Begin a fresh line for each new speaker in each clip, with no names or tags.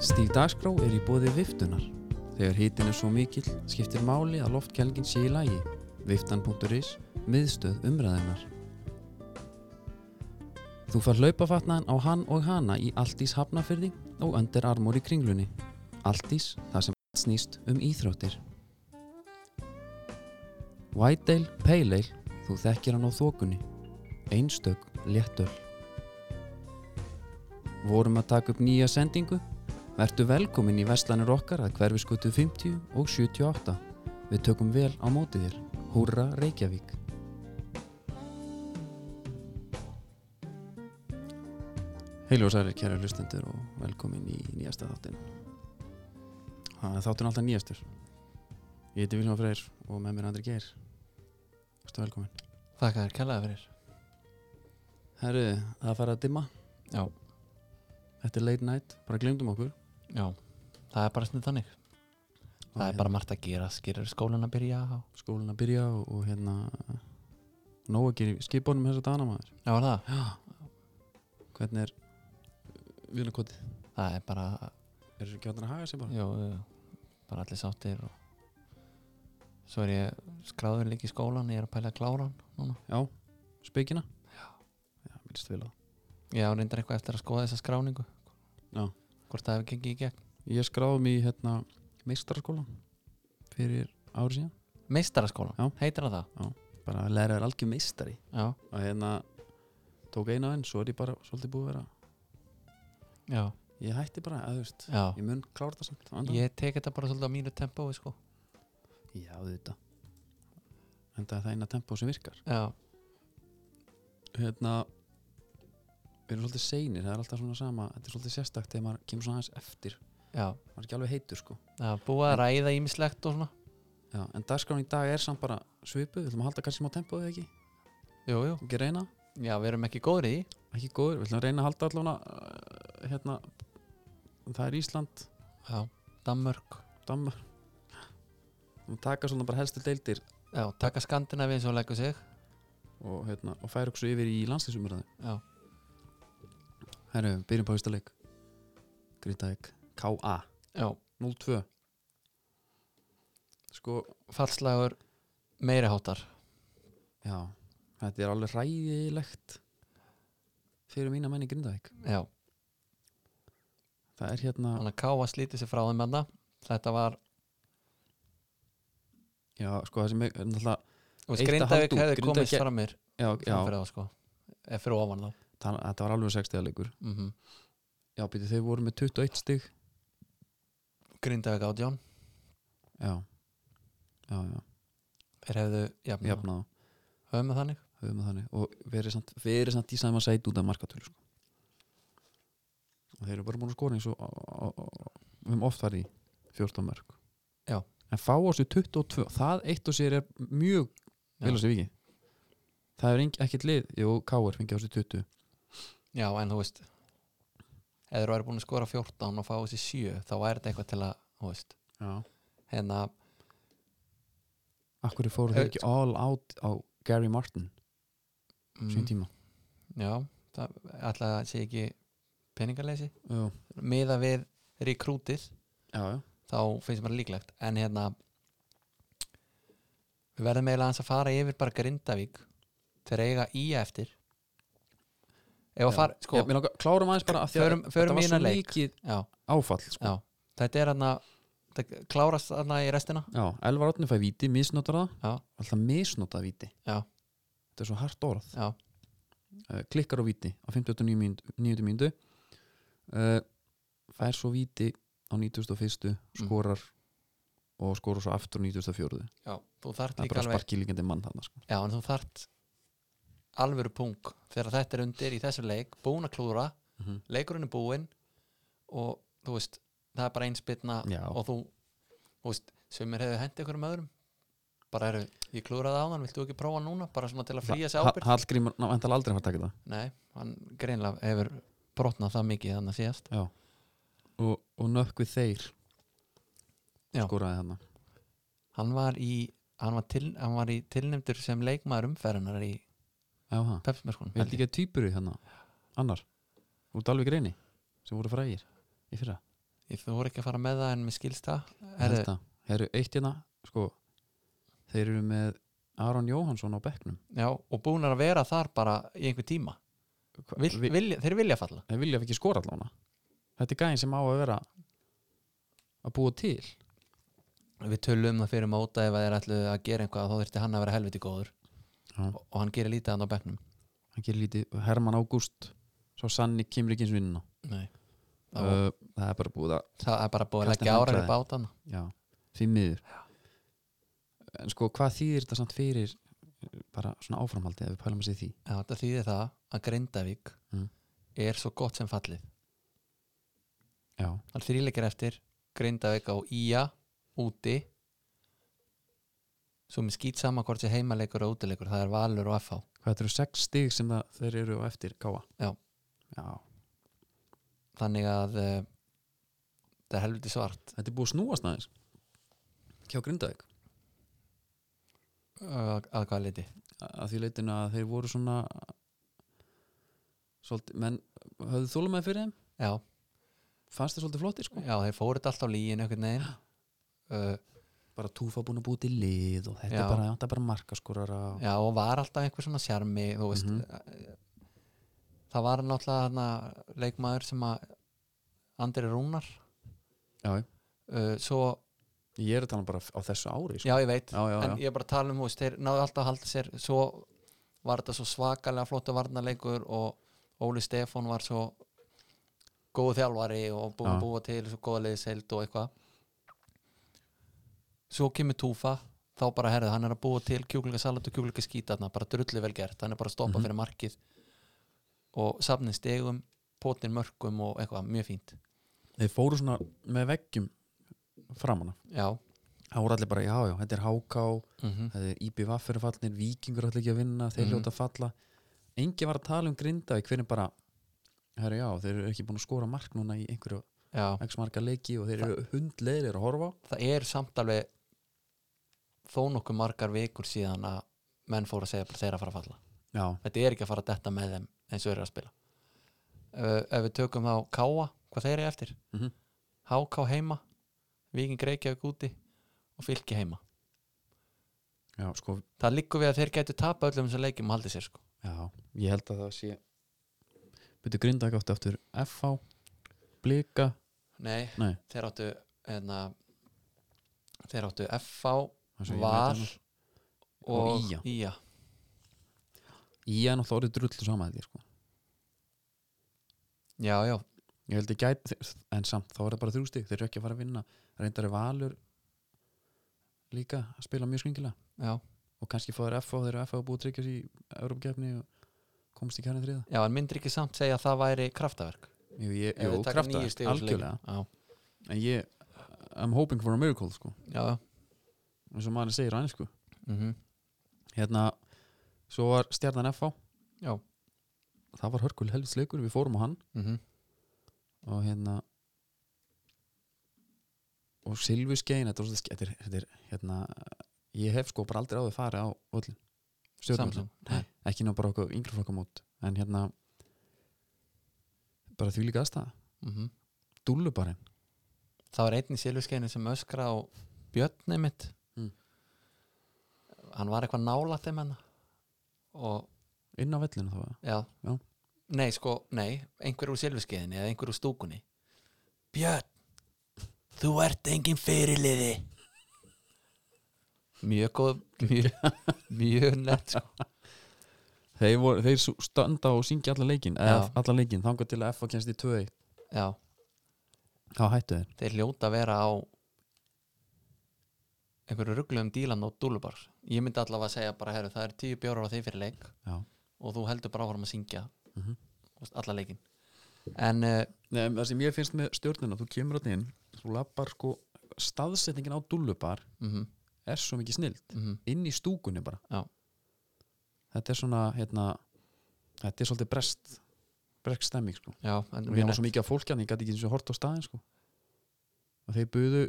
Stíf dagskrá er í bóði viftunar. Þegar hitin er svo mikill, skiptir máli að loftkjælgin sé í lagi. Viftan.is, miðstöð umræðinar. Þú far hlaupafatnaðan á hann og hana í Altís hafnafyrði og öndir armór í kringlunni. Altís, það sem allt snýst um íþróttir. White Ale, Pale Ale, þú þekkir hann á þokunni. Einstök, léttöl. Vorum að taka upp nýja sendingu? Vertu velkomin í verslanir okkar að hverfiskutu 50 og 78. Við tökum vel á móti þér. Húrra Reykjavík. Heilu og sælir kæra hlustendur og velkomin í nýjasta þáttin. Það er þáttin alltaf nýjastur. Ég heiti Vilma Freyr og með mér Andri Geir. Vertu velkomin.
Þakka þér kærlega fyrir
Herru, það er að fara að dimma.
Já.
Þetta er late night, bara glemdum okkur.
Já, það er bara snið þannig Það er bara margt að gera, skýrur skólan að byrja á
skólan að byrja og, og hérna nóg að gera í skipunum þess að dana maður
Já, er það,
hvernig er vinakotið
það er bara
er þessu gætan að haga sér bara
Jó, jú, bara allir sáttir og... Svo er ég skráður líka í skólan, ég er að pæla að klára hann núna
já, spekina já, mér líst vel á það
Ég á reyndar eitthvað eftir að skoða þessa skráningu
Já.
Hvort það hefur gengið í gegn
ég skráði mig í hérna meistarskólan fyrir ári síðan
Meistaraskólan,
Já.
heitir það það?
bara að læra þér algjör meistari
Já,
og hérna tók eina enn, svo er ég bara svolítið búið að vera
já,
ég hætti bara, að þú veist
já
ég mun klára það samt á endanum.
Ég tek þetta bara svolítið á mínu tempói sko
já, þetta enda er það eina tempó sem virkar
Já,
hérna við erum svolítið seinir, það er alltaf svona sama þetta er svolítið sérstakt þegar maður kemur svona aðeins eftir
já,
maður er ekki alveg heitur sko
það er búið að ræða ímislegt og svona
já, en dagskráin í dag er samt bara svipuð við ætlum að halda kannski smá tempóið ekki
Jú, jú,
ekki reyna,
já, við erum ekki góðir í því.
ekki góður, við ætlum að reyna að halda allavega uh, hérna það er Ísland,
Já, Danmörk
Dammar við taka svona bara helstu deildir
Já, taka Skandinavi eins og leggur sig
og, hérna, og færa okkur svo yfir í landslýsumræði
Já,
herru, byrjum på fyrsta leik Grindavík, K.A.
já
0-2 sko,
fallslagur meiri hátar
Já, þetta er alveg ræðilegt fyrir mína menn í Grindavík
Já,
Það er hérna,
hann að káa slítið sér frá þeim enna Þetta var,
já sko það sem er náttúrulega
og
Eitt að halda
Grindavík
út,
hefði
Grindavík
komist
er-
framir
Já, já
framfyrir þá sko eða fyrir ofan þá
það, þetta var alveg 60 leikur
mm -hmm.
Já, býti, þeir voru með 21 stig
Grindavík átján,
Já, já, já,
þeir hefðu jafn, jafn.
jafnaða
höfum við þannig
höfum við þannig og verið samt, verið samt í sama sæt út af markatölu sko. og þeir eru bara búin að skora eins og á- á- á- við höfum oft farið í 14 mörg
Já.
en fá á sig 22, það eitt og sér er mjög vel á sig viki það er engi- ekkert lið jú, Káur fengi á sig 20
Já, en þú veist eða þú væri búin að skora 14 og fá þessi 7 þá væri þetta eitthvað til að, þú veist
Já.
hérna,
akkur fóru þau
Eh,
ekki all out á Gary Martin sín
mm,
tíma
já það, ætla að sé ekki peningaleysi
já,
miða við rekrútið
já, já,
þá finnst mér líklegt en hérna við verðum eiginlega aðeins að fara yfir bara Grindavík þegar eiga í eftir ef að
Já.
fara, sko
já mér langar, klárum aðeins bara af því að
Förum- förum í
þetta var
þennan
svo
leik.
mikið
já,
áfall sko.
já, þetta er hérna þetta klárast hérna í restina
já, Elvar Otni fæ viti, misnotar það
já,
alltaf misnotað viti
Já.
þetta er svo hart orð
já,
uh, klikkar á viti á 59 mínútu mínútu uh, fær svo viti á 91
Mm.
skorar og skorar svo aftur á 94
já, þú þart
það er
líka
bara
alveg
sparkilíkandi mann þarna sko.
já, en þú þart alvöru punk þegar þetta er undir í þessu leik búin að klúra,
Mhm.
leikurinn er búinn og þú veist það er bara einspilna
Já.
og þú, þú veist, sumir hefur hendi ykkur um öðrum bara eru, ég klúraði á hann, viltu ekki prófa núna bara svona til að flýja sér
Ha-
ábyrg
Hallgrímur ná, vantar aldrei að fara að taka
nei, hann greinlega hefur brotnað það mikið þannig að síðast
þetta já. og, og nökkvið þeir
Já.
skoraði hann
hann var í, hann var, til, hann var í tilnefndur sem leikmaður umferðunar í
já, ha.
pepsmerskunum
við held ekki að týpuru hann annar, úr Dalvik reyni sem voru frægir í fyrra
ég þú voru ekki að fara með það en mér skilst það Herðu,
Þetta, herru, eitt hérna sko, þeir eru með Aron Jóhansson á bekknum
já, og búnar að vera þar bara í einhver tíma Vil,
Vi-
vilja, þeir vilja falla
þeir vilja ekki skora allána þetta er gæðin sem á að vera að búa til
við tölum um það fyrir móta ef að þeir ætlu að gera eitthvað þá þurfti hann að vera helviti góður
Já.
og, og hann gerir lítið hann á bekknum
hann gerir lítið Herman Ágúst svo Sanni kemur ekki eins vinnuna
Nei. Það,
uh, það er bara búið að
það er bara búið að
Kasta
leggja árar
handklæði.
upp á þann
já, því miður en sko hvað þýðir þetta samt fyrir eh, bara svona áframhaldi ef við pælum að segja því
Já, þetta þýðir það að Grindavík
Mm.
er svo gott sem fallið
já,
Það er þrýleikir eftir Grindavík á Ía úti svo mér skýt sama hvort sé heimaleikur og útileikur, það er Valur og FH
hvað þetta eru sex stig sem það, þeir eru á eftir káa
Já.
já,
þannig að uh, það er helviti svart
þetta er búið að snúast aðeins hjá Grindavík
uh, að hvað liti
að því leitinu að þeir voru svona svolítið, menn höfðu þólum með fyrir þeim
Já,
fannst þið svolítið flottir sko
já þeir fóru þetta alltaf á lígin einhvern veginn uh,
bara túfa búin að búið til lið og þetta
Já.
er bara, þetta er bara markaskorara og...
Já, og var alltaf einhver svona sjarmi þú veist
Mhm.
það var náttúrulega hana, leikmaður sem að Andri Rúnar
já, já.
uh, svo,
ég er að tala um bara á þessu ári sko.
já ég veit
já, já,
en
já.
ég er bara að tala um, þú veist, þeir náðu alltaf að halda sér svo var þetta svo svakalega flottu varnarleikur og Óli Stefán var svo góð þjálfari og búið
Já.
að búa til svo góða leiðiseld og eitthvað svo kemur Túfa þá bara herðið, hann er að búa til kjúklingasalat og kjúklingaskítarna, bara drullu vel gert hann er bara að stoppa
Mhm.
fyrir markið og safnið stegum, potin mörkum og eitthvað, mjög fínt
þeir fóru svona með veggjum framan af
já,
það voru allir bara, já, já, þetta er háká
mm -hmm.
það er IB Vaffur fallnir, vikingur allir ekki að vinna þeir
Mhm.
hljóta að falla engi var að tala um Grindavík hvernig bara herru já, þeir eru ekki búin að skora mark núna í einhverju
já.
x marka leiki og þeir eru hundleiðir að horfa á
það er samt alveg þó nokkuð margar vikur síðan að menn fóru að segja bara þeirra að fara að falla
já,
þetta er ekki að fara að detta með þeim eins og þeir eru að spila ef, ef við tökum þá Káa, hvað þeir eru eftir
Mhm.
Háká heima Víking Reykjavík úti og Fylki heima
já, sko
það liggur við að þeir gætu tapa öllum þessum leikjum og haldið sér sko
já, ég held að það sé byrju Grindavík átti aftur FH, Blika
nei,
Nei.
þeir áttu enna, þeir áttu FH,
eins og ég
Val
veit um
og,
Og
Ía,
Ía. það nú. ég er náttúrulega orðið drullu sama held ég, sko.
já, já,
ég held ég gæti, en samt þá er það bara þrjú stig, þeir eru ekki að fara að vinna reyndari Valur líka að spila mjög skringilega
já
og kannski fá þér FH, þeir eru FH búið að tryggja sér í Európa-kefni og komst í kærna þriða
já, en myndir ekki samt segja að það væri kraftaverk
Jú, ég,
Ef
jú
við taka
krafta,
níu stig úr þessu leik.
algjörlega
já,
en ég, I'm hoping for a miracle sko,
já, já
eins og maður segir á ennsku
mm
hérna, svo var stjarnan FH
Já.
það var hörkul helvitsleikur, við fórum á hann
Mhm.
og hérna og Silvuskein þetta, var svolítið ske- þetta er, þetta er hérna ég hef sko bara aldrei áður farið á öllin
Samsung Nei.
ekki ná bara okkur yngri flokka mót en hérna bara því líka aðstæða,
Mhm.
dúllubarinn
Það var einn í silfuskeinu sem öskra á Björni mitt
Mm.
Hann var eitthvað nálætt þeim hennar og
inn á vellinu þá
já.
Já.
Nei, sko, nei, einhver úr silfuskeiðinni eða einhver úr stúkunni Björn, þú ert engin fyrirliði Mjög góð mjög, mjög nett sko.
þeir, voru, þeir sú- standa og syngja alla leikin eða
Já.
alla leikin, þangar til að FH kennst í 2
Já,
þá hættu þeir
þeir hljóta að vera á einhverju ruggluðum dílan og dúlubar ég myndi allavega að segja bara, herru, það er tíu bjórar á þeim fyrir leik
Já.
og þú heldur bara áfram að syngja
mm
þú veist, alla leikin en uh,
Nei, en það sem ég finnst með stjórnina, þú kemur átni inn þú lappar sko, staðsetningin á dúllubar
mm
er svo mikið snill
mhm,
inn í stúkunni bara
Já.
þetta er svona hérna, þetta er svolítið brest brest stemming sko
já, en
og hérna var svo mikið af fólki að ég gæti ekki eins og hort á staðin sko og þeir buðu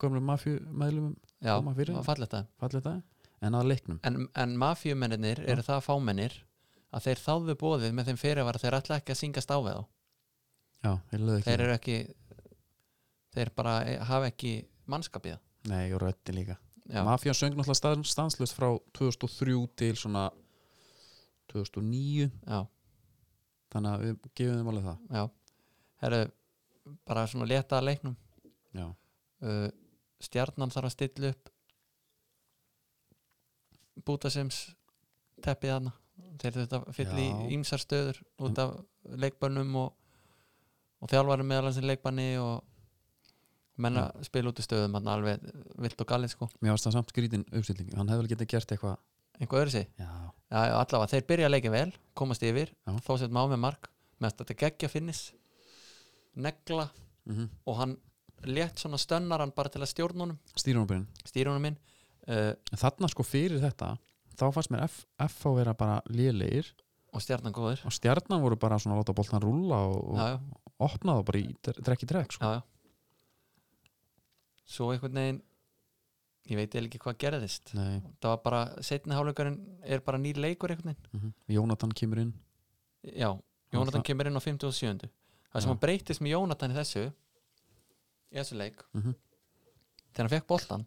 gömlu mafjumæðlumum
já,
koma fyrir.
það var fallegt það
fallið það en að leiknum
en, en mafjumennir eru það fámennir að þeir þáðu bóðið með þeim fyrirvara þeir ætla ekki að syngast á við þá
já, þeir löðu ekki
þeir eru ekki þeir bara e- hafa ekki mannskapið
nei, og rötti líka
já,
mafjan söng náttúrulega stað, stanslust frá 2003 til svona 2009
já,
þannig að við gefum þeim alveg það
já Heru, bara svona leta að leiknum
já,
uh, stjarnan þarf að stilla upp bútasims teppið hana þeir þetta fyll í
Já.
ýmsar stöður út af leikbannum og, og þjálfarum meðalans í leikbanni og menna
Mm.
spila út í stöðum hann alveg vilt og galið sko
mér varst það samt skrítin uppstilling hann hefði vel getið gert eitthvað
einhvað öðru sig,
já,
já, já, allavega þeir byrja að leika vel komast yfir,
Já.
þó sett má með mark með þetta geggja finnis negla
mm -hmm.
og hann létt svona stönnar hann bara til að stjórn honum,
stýrunarbyrjun
stýra honum inn uh,
en þarna sko fyrir þetta þá fannst mér F, F á vera bara lélegir
og stjarnan góður
og stjarnan voru bara svona að láta boltan rúlla og, og
já, já,
opna þá bara í trekk í trekk sko.
já, já svo einhvern veginn ég veit eiginlega ekki hvað gerðist
Nei,
það var bara, setni hálfleikurinn er bara nýr leikur einhvern
mm Jónatan kemur inn
veginn já, Jónatan
það-
kemur inn á 57 það
Já.
sem hann breytist með Jónatan í þessu í þessu leik,
mm
þegar hann fekk boltan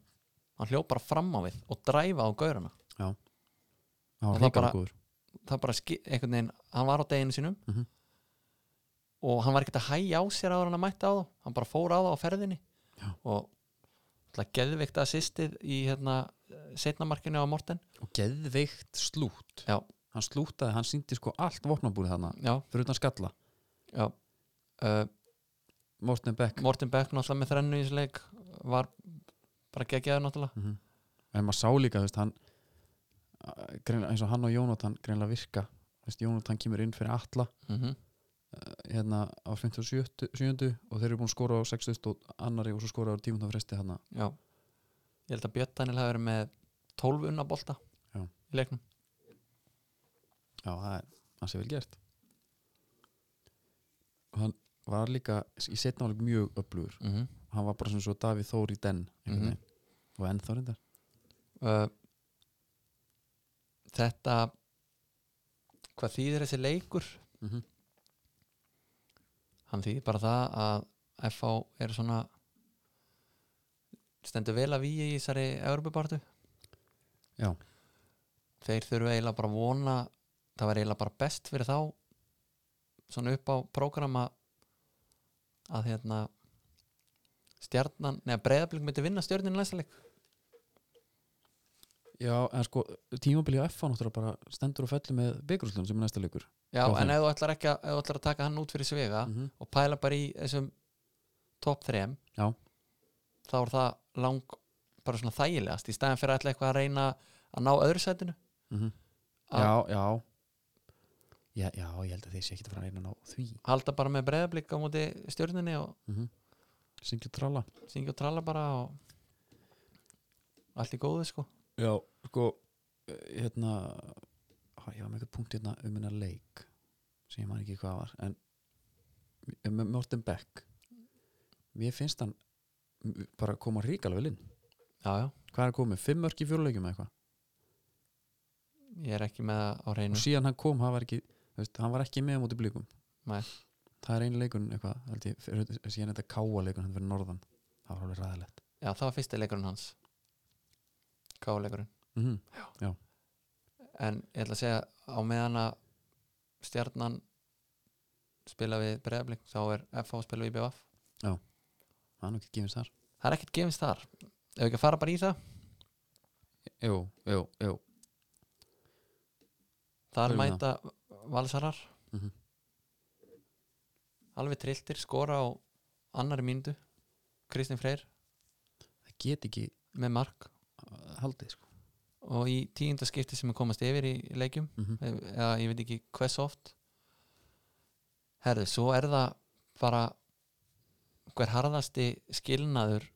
hann hljóp bara fram á við og dræfa á gaurana
það var
Og það
hrikalega
bara-
góður
það bara, ski- einhvern veginn, hann var á deginu sínum
Mhm.
og hann var ekkert að hæja á sér áður en hann mætti á þá hann bara fór á þá á ferðinni
Já.
og það geðveikt assistið í hérna setnamarkinu á Morten
og geðveikt slút
Já.
hann slútaði, hann síndi sko allt vopnabúrið þarna
já,
fyrir utan skalla,
já uh,
Morten Beck
Morten Beck náttúrulega með þrennu í þessu leik var bara geggjaður náttúrulega
mm en maður sá líka þú veist, hann, eh, greinilega- eins og hann og Jónatan greinlega virka Þú veist, Jónatan kemur inn fyrir alla
mm
hérna á 57. og þeir eru búin að skora á 60 og annari og svo skora á tímundar fresti þarna
já ég held að Björn Daniel hafi verið með 12 unna bolta
Já.
í leiknum
Já, það er hans er vel gert og hann var líka í setna var mjög öflugur
mm
hann var bara sem svo Davíð Þór í den mm
Mhm.
-hmm. og ennþá reyndar
uh, þetta hvað þýðir þessi leikur
mm -hmm.
hann þýðir bara það að FH er svona stendur vel að víi í þessari Európa-bartu
Já.
þeir þurfu eiginlega bara að vona það var eiginlega bara best fyrir þá svona upp á prógrama að hérna stjarnan, neða breyðablík myndi vinna stjörnin læsleik
Já, en sko tímabilið á F náttúrulega bara stendur og fellur með byggrúslum sem er næsta leikur Já,
Já, en
þeim.
ef þú ætlar ekki að, ef þú ætlar að taka hann út fyrir svega
mm -hmm.
og pæla bara í þessum topp 3
Já.
þá er það lang bara svona þægilegast í staðan fyrir alltaf eitthvað að reyna að ná öðru sætinu að
Já, já Mhm. Já, já, ég held að þeir sé ekki að fara að reyna að ná því
halda bara með breyðablík á móti stjörninni og
mm -hmm. Syngja og tralla
syngja og tralla bara og allt í góðu sko
Já, sko eh, hérna á, ég var með eitthvað punkt hérna um hennar leik sem ég man ekki hvað var en um um Morten Beck mér finnst hann m- bara koma ríkalega vel inn
já, já,
hvað er hann komið, fimm örk í fjöruleikjum eða eitthvað
ég er ekki með það á
og
reynu
síðan hann kom, hann var ekki þú veist, hann var ekki með á móti blíkum
Nei.
það er einu leikun eitthvað held ég, fyrir, síðan þetta káa leikun hann fyrir norðan, það var alveg ræðilegt
já, það var fyrsti leikurinn hans káleikurinn
mm -hmm.
en ég ætla að segja á meðan að stjarnan spila við breyðablík þá er FH að spila við BVF
það er nú ekki gefins þar
það er ekkert gefins þar ef við ekki að fara bara í það
jú, jú, jú
þar
Förum í
mæta valsarar
Mhm.
alveg trilltir skora á annari mínútu Kristinn Freyr
það get ekki
með mark
uh, haldið sko
og í tíunda skipti sem er komast yfir í leikjum eh,
mm -hmm.
eða ég veit ekki hvers oft herðu, svo er það bara hver harðasti skilnaður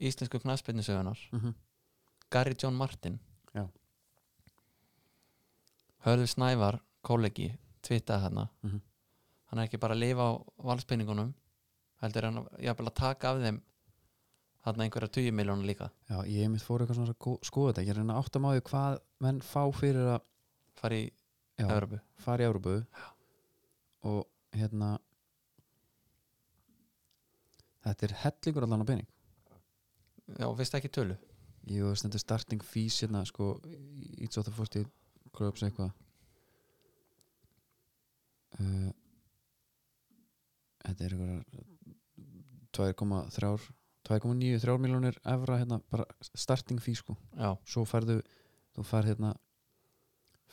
íslensku knassbyrnusögunar
mm -hmm.
Gary John Martin
Já.
Hörður Snævar kollegi, tvittaði hérna
Mhm.
hann er ekki bara að lifa á valspenningunum heldur hann að- jafnvel að taka af þeim þarna einhverja 20 miljónu líka
Já, ég einmitt fór eitthvað svona að gó- skoða þetta ég er að reyna að átta máði hvað menn fá fyrir að
fara í
já,
Evropu
fara í Európu og hérna þetta er hellingur allan á pening
Já, veist ekki tölu
ég var stendur starting fees hérna sko, each of the 40 clubs eitthvað uh, þetta er eitthvað 2,3 2,93 miljónir evra hérna, bara starting fees sko
Já,
svo færðu, þú færð hérna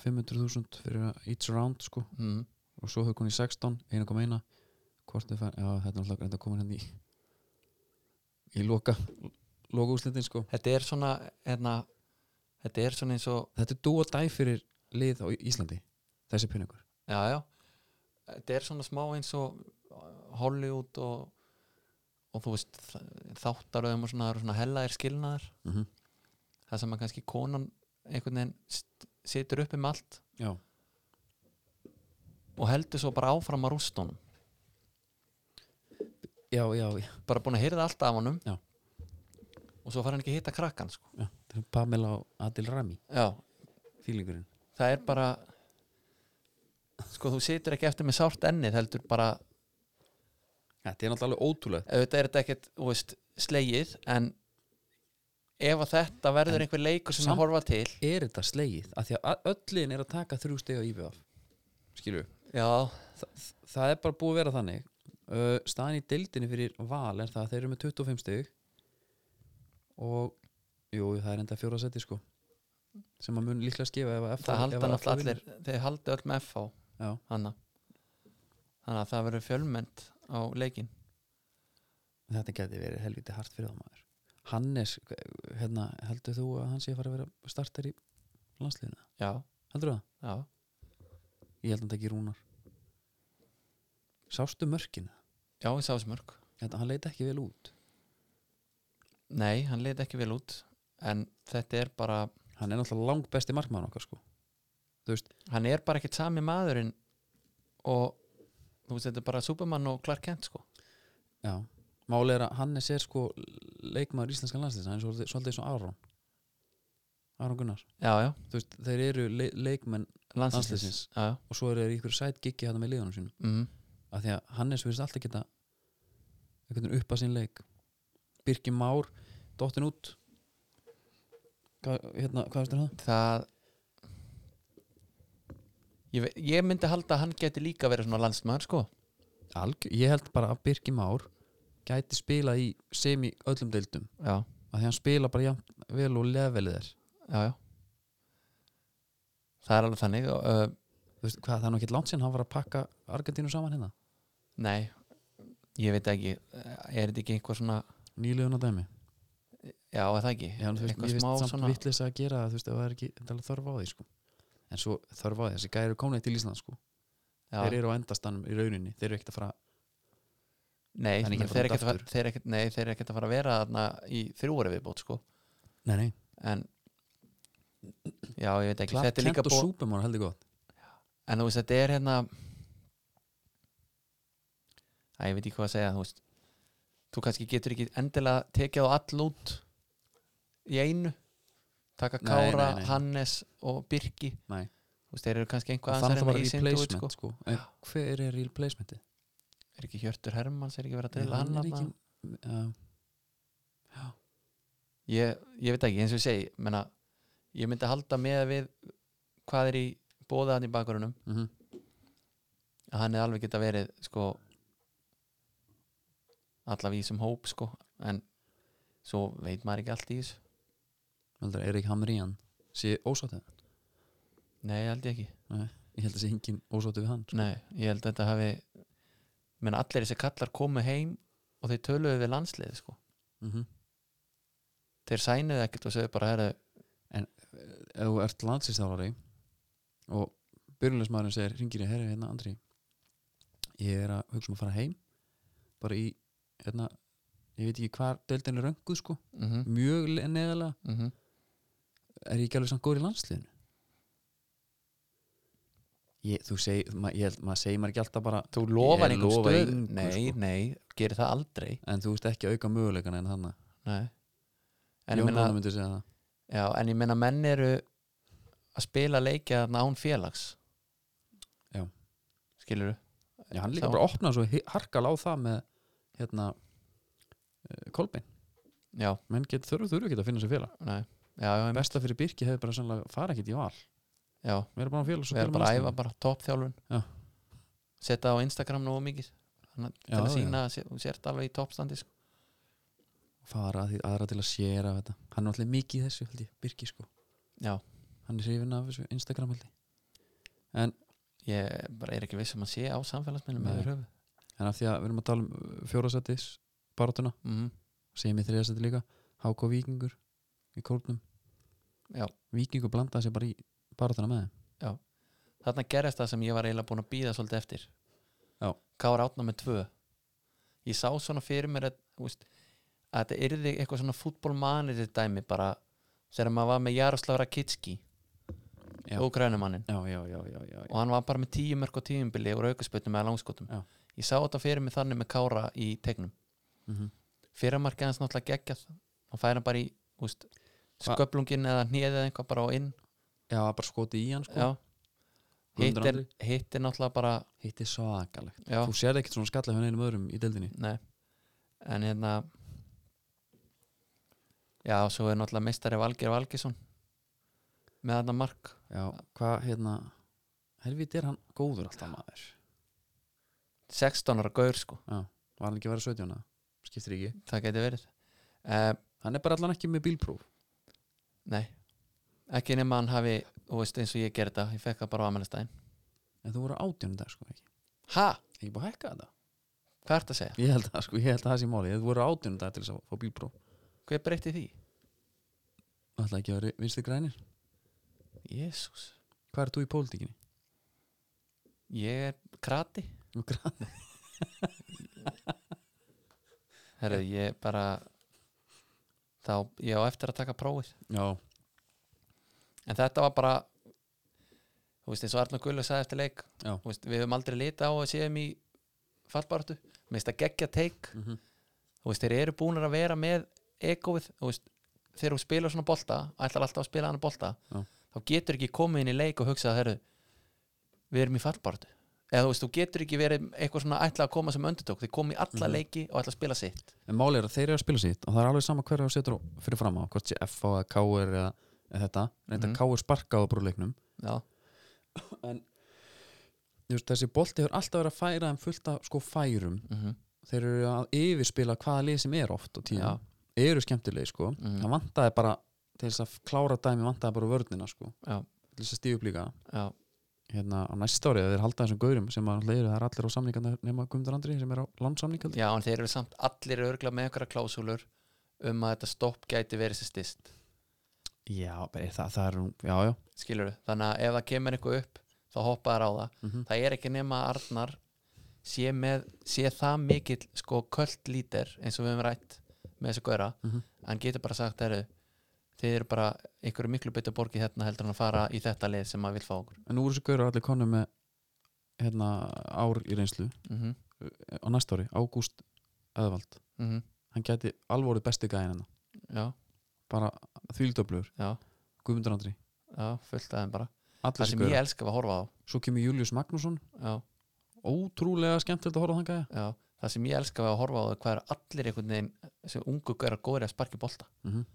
500.000 fyrir að each round sko
mm.
og svo hefur konið 16, 1,1 hvort þið fær, já þetta er alltaf reynda komin hérna í í loka loka úslitin sko
þetta er svona hérna, þetta er svona eins og
þetta er dú og dæ fyrir lið á Íslandi þessi peningur
já, já þetta er svona smá eins og Hollywood og, og þú veist þ- þáttaröðum og svona, það eru svona hellaðir skilnaðar
mm -hmm.
það sem að kannski konan einhvern veginn st- situr uppi með allt
já,
og heldur svo bara áfram að rústunum
já, já, já.
bara búin að hýrða allt af honum
Já.
og svo fara hann ekki að hitta krakkan sko.
Þetta er Pamela og Adil Rami
já,
fílingurinn
það er bara sko þú situr ekki eftir með sárt ennið heldur bara,
þetta er náttúrulega alveg ótrúlegt
auðvitað er þetta ekkert þú veist, slegið en ef að þetta verður
En
einhver leikur sem
samt-
að horfa til
er þetta slegið, af því að öllin er að taka þrjú steg á IBF skilu,
já,
Þa, það er bara búið að vera þannig uh, staðan í deildinni fyrir val er það að þeir eru með 25 stig og jú, það er enda fjóra seti sko sem að mun líklega skifa ef að F
það halda náttúrulega
vinnur.
allir þeir halda öll með FH
já,
hana. þannig að það verður fjölmend á leikin
þetta geti verið helviti hart fyrir það maður Hannes, hérna, heldur þú að hann sé að fara að vera starter í landsliðinu?
já,
Heldur það?
já,
Ég held að hann taki rúnar Sástu mörkina?
já, ég sá þessi mörg
Þetta, hann leit ekki vel út
nei, hann leit ekki vel út en þetta er bara
Hann er náttúrulega langt besti markmann okkar sko
hann er bara ekkert sami maðurinn og þú veist, þetta er bara Superman og Clark Kent sko
Já, máli er að Hannes er sko leikmaður íslenskan landsliðs hann er svolítið, svolítið svo Aron Aron Gunnar,
já, já,
þú veist, þeir eru le leikmenn
landsliðsins
Landsliðsins.
já, já,
og svo eru þeir í ykkur sætt giggi hérna með liðanum sínum
mm,
af því að Hannes finnst alltaf geta einhvern veginn upp að sín leik Birki Már, dottin út Hva, hérna, hvað veist það?
það ég, ve- ég myndi halda að hann geti líka verið svona landsmaður sko
Alg, ég held bara að Birki Már gæti spila í semi öllum deildum
já,
af því að hann spila bara jafn, vel og levelið er
já, já það er alveg þannig og, uh,
þú veist, hvað, það er nú ekki langt sinn hann var að pakka Argentínu saman hérna
Nei, ég veit ekki Er þetta ekki einhver svona
nýliðun á dæmi
Já, er það ekki
Já, en þú veist, ég
Eitthvað smá
veist samt
svona
svona... vitleisa að gera það, þú veist, ef það er ekki endalega þörf á því, sko. En svo þörf á því, þessi gæri eru komnið til Ísland, sko. Þeir
já,
eru á endastanum í rauninni, þeir eru ekkert að fara,
Nei,
Það er enginn
menn þeir eru
brot
ekkert að fara-
aftur.
þeir eru ekkert- nei, þeir eru ekkert að fara að vera þarna í þrjú ári viðbót sko.
nei, nei,
en Já, ég veit ekki
klart,
Þetta er líka
kent og
búið
súpumór heldur gott.
En þú veist, þetta er hérna Æ, ég veit ekki hvað að segja Þú veist Þú kannski getur ekki endilega tekið á all út í einu taka
Nei,
Kára,
nei, nei.
Hannes og Birki
Nei.
Þú veist, þeir eru
Og
kannski einhvað
það er
aðeins
það bara
aðeins í Sindhúð, sko.
replacement, sko. En hver er replacementið?
er ekki Hjörtur Hermanns er ekki verið að deila
Hann
hann
er
ekki...
ekki- Já,
ég, ég veit ekki, eins og ég segi menna, ég myndi halda með við hvað er í bóða hann í bakgrunum
mhm.
að hann er alveg geta verið sko allavega í sem hóp sko en svo veit maður ekki allt í þessu
Heldur, Erik Hamrían sé ósáttið.
nei, held ég ekki, sko.
Ég held að sé engin ósáttið við hann, sko.
nei, ég held að þetta hafi menn allir þessi kallar komu heim og þeir töluðu við landslið sko,
Mhm.
þeir sænuðu ekkert og sögðu bara, herðu,
Ef þú ert landsýstálari og byrjulegsmaðurinn segir, ringir ég, herri, hérna, Andri, ég er að hugsa um að fara heim, bara í, hérna, ég veit ekki hvar deildin er rönguð sko
mm -hmm.
mjög le- neðalega,
mhm."
er ég ekki alveg samt góður í landsliðinu ég, þú seg, ma, ég held, maður segir maður ekki alltaf bara
Þú lofar
Ég
einhver
lofa
stöð
engu, sko.
Nei, nei, gerir það aldrei
en þú veist ekki að auka möguleikana en hann
nei. En, ég
Jón
meina,
Rónar myndi segja það
já, en ég meina menn eru að spila leikja þarna án félags
Já.
Skilurðu?
Já, hann líka
Sá-
bara opnaði svo hi- harkal á það með hérna eh, Kolbein,
Já,
menn get, þurfu, þurfu ekki að finna sér félag
nei Já, já, einmitt.
besta fyrir Birki hefur bara sannlega fara ekkit í val
já
við erum bara á félags og
Við
spilum
erum bara að
landsliðinu.
æfa bara toppþjálfun
Já.
Setta á Instagram nú mikið Þannig að-
Já,
til að
já.
sína að sé- þú sért alveg í toppstandi sko.
fara að því aðra til að séra af þetta hann er alltaf mikið í þessu held ég, Birki sko
Já.
hann er hrifin af þessu Instagram held ég
Ég bara er ekki viss um að sé á samfélagsmiðlum
Nei.
yfir höfu
en af því að við erum að tala um fjórasættis barátuna,
mm
segjum í þriðasætti líka HK Víkingur í kórnum
Já.
Víkingur blandaði sér bara í barátuna með þeim
Þarna gerðist það sem ég var eiginlega búin að býða svolítið eftir
Já.
Kára átna með tvö Ég sá svona fyrir mér að, þú veist, að þetta yrði eitthvað svona fútbolmanir dæmi bara þegar maður var með Jaroslav Rakitski
Já.
og grænumanninn
já, já, já, já, já,
og hann var bara með tíu mörg og tíumbili og aukaspötum með langskotum
Já.
Ég sá þetta fyrir mig þannig með Kára í tegnum
Mm
fyrramarkið hans náttúrulega geggjað hann færa hann bara í úst,
Hva-
sköplungin eða hnéð eða eitthvað bara á inn
já, bara skoti í hann sko
já. hitt,
Guðmundur
er,
Andri.
hitt er náttúrulega bara
hitt er svakalegt,
já,
þú sér ekkert svona skalla hann einum öðrum í deildinni
nei en hérna já, svo er náttúrulega meistari Valgeir Valgesson með þarna mark
já, hvað hérna helviti er hann góður alltaf maður
16 ára gaur sko,
var hann ekki að vera 17 -a? skiptir ekki,
það geti verið uh,
hann er bara allan ekki með bílpróf
nei ekki nema hann hafi, þú veist eins og ég gerði þetta ég fekk það bara á amelastæðin
en þú voru átjónu dag sko ekki,
ha,
ekki búið að hekka þetta
hvað ertu að segja?
ég held að sko, ég held að það sé máli þú voru átjónu dag til þess að fá bílpróf
hver breytti því?
alltaf ekki að vera vinstri grænir
Jésús
hvað er þú í pólitíkinni?
Ég er krati
Nú, gra-
Herru, ég bara þá, ég á eftir að taka prófið
já,
en þetta var bara þú veist, eins og Arnur Gullu sagði eftir leik
Já.
Þú veist, við höfum aldrei lita á að séum í fallbaratu, mér finnst að geggja teik
mm
þú veist, þeir eru búnir að vera með egoið, þú veist, þegar þú spilar svona bolta ætlar alltaf að spila hann bolta
Já.
þá getur ekki komið inn í leik og hugsað herru, við erum í fallbaratu eða þú veist, þú getur ekki verið eitthvað svona ætla að koma sem öndutók, þeir komið í alla
Mhm.
leiki og ætla að spila sitt
en máli er að þeir eru að spila sitt og það er alveg sama hverja þú setur á- fyrir fram á hvort sé F eða K eða, eða þetta reynda mm
Mhm.
-hmm. K er sparkað á brúleiknum
Já,
þessi bolti hefur alltaf verið að færa þeim fullt af sko færum
mhm.
þeir eru að yfirspila hvaða lið sem er oft og tíðan,
já,
eru skemmtilegi sko
mhm,
það vantaði bara til þess að klára dæmi vantaði bara vörnina sko
Já.
til þess að stíu upp líka
já,
hérna á næsta árið að þeir halda þessum gaurum sem að leiru það er allir á samningarna nema Guðmundur Andri sem er á landsamning held ég.
já, en þeir eru samt allir örgla með einhverja klásúlur um að þetta stopp gæti verið sér stist
já, bara er það, það er nú, já, já
skilur þannig að ef það kemur eitthvað upp þá hoppa þær á það,
mm
það er ekki nema að Arnar sé, með, sé það mikill sko köld lítir eins og við höfum rætt með þessu góra
Mhm.
hann getur bara sagt þeirru þið eru bara einhverju miklu betur borgið hérna heldur hann að fara í þetta lið sem maður vil fá okkur
en nú eru þessu gaurar allir konu með hérna ár í reynslu eh,
mm -hmm.
á næsta ári, Ágúst Öðvald hann gæti alvorið bestu gæðin hennar
mhm. já,
bara þvíldöflugur,
já,
Guðmundur Andri
já, fullt aðeim bara
allir
það
þessi
sem ég
gaurar,
elska að horfa á
svo kemur Július Magnússon
já
ótrúlega skemmtilegt að horfa á þann gæja
Já, það sem ég elska við að horfa á það hvað er allir einhvern veginn sem ungu gæra góðir að sparki bolta
mm -hmm.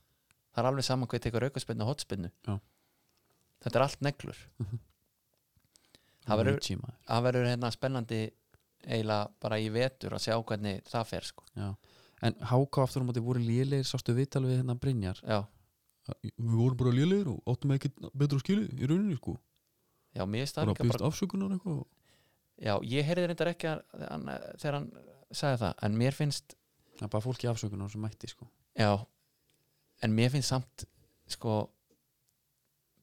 það er alveg saman hvað tekur aukaspinnu og hotspinnu
Já.
þetta er allt neglur Það verður- það verður hérna spennandi eiginlega bara í vetur að sjá hvernig það fer sko.
en háká aftur á móti voru lélegir sástu viðtal við hérna Brynjar
já,
við vorum bara lélegir og áttum ekki betra skilið í rauninni sko
já, mér finnst það líka bara
afsökunar eitthvað
já, ég heyrði reyndar ekki að, hann, þegar hann sagði það, en mér finnst
það er bara fólki afsökunar sem mætti sko
já, en mér finnst samt sko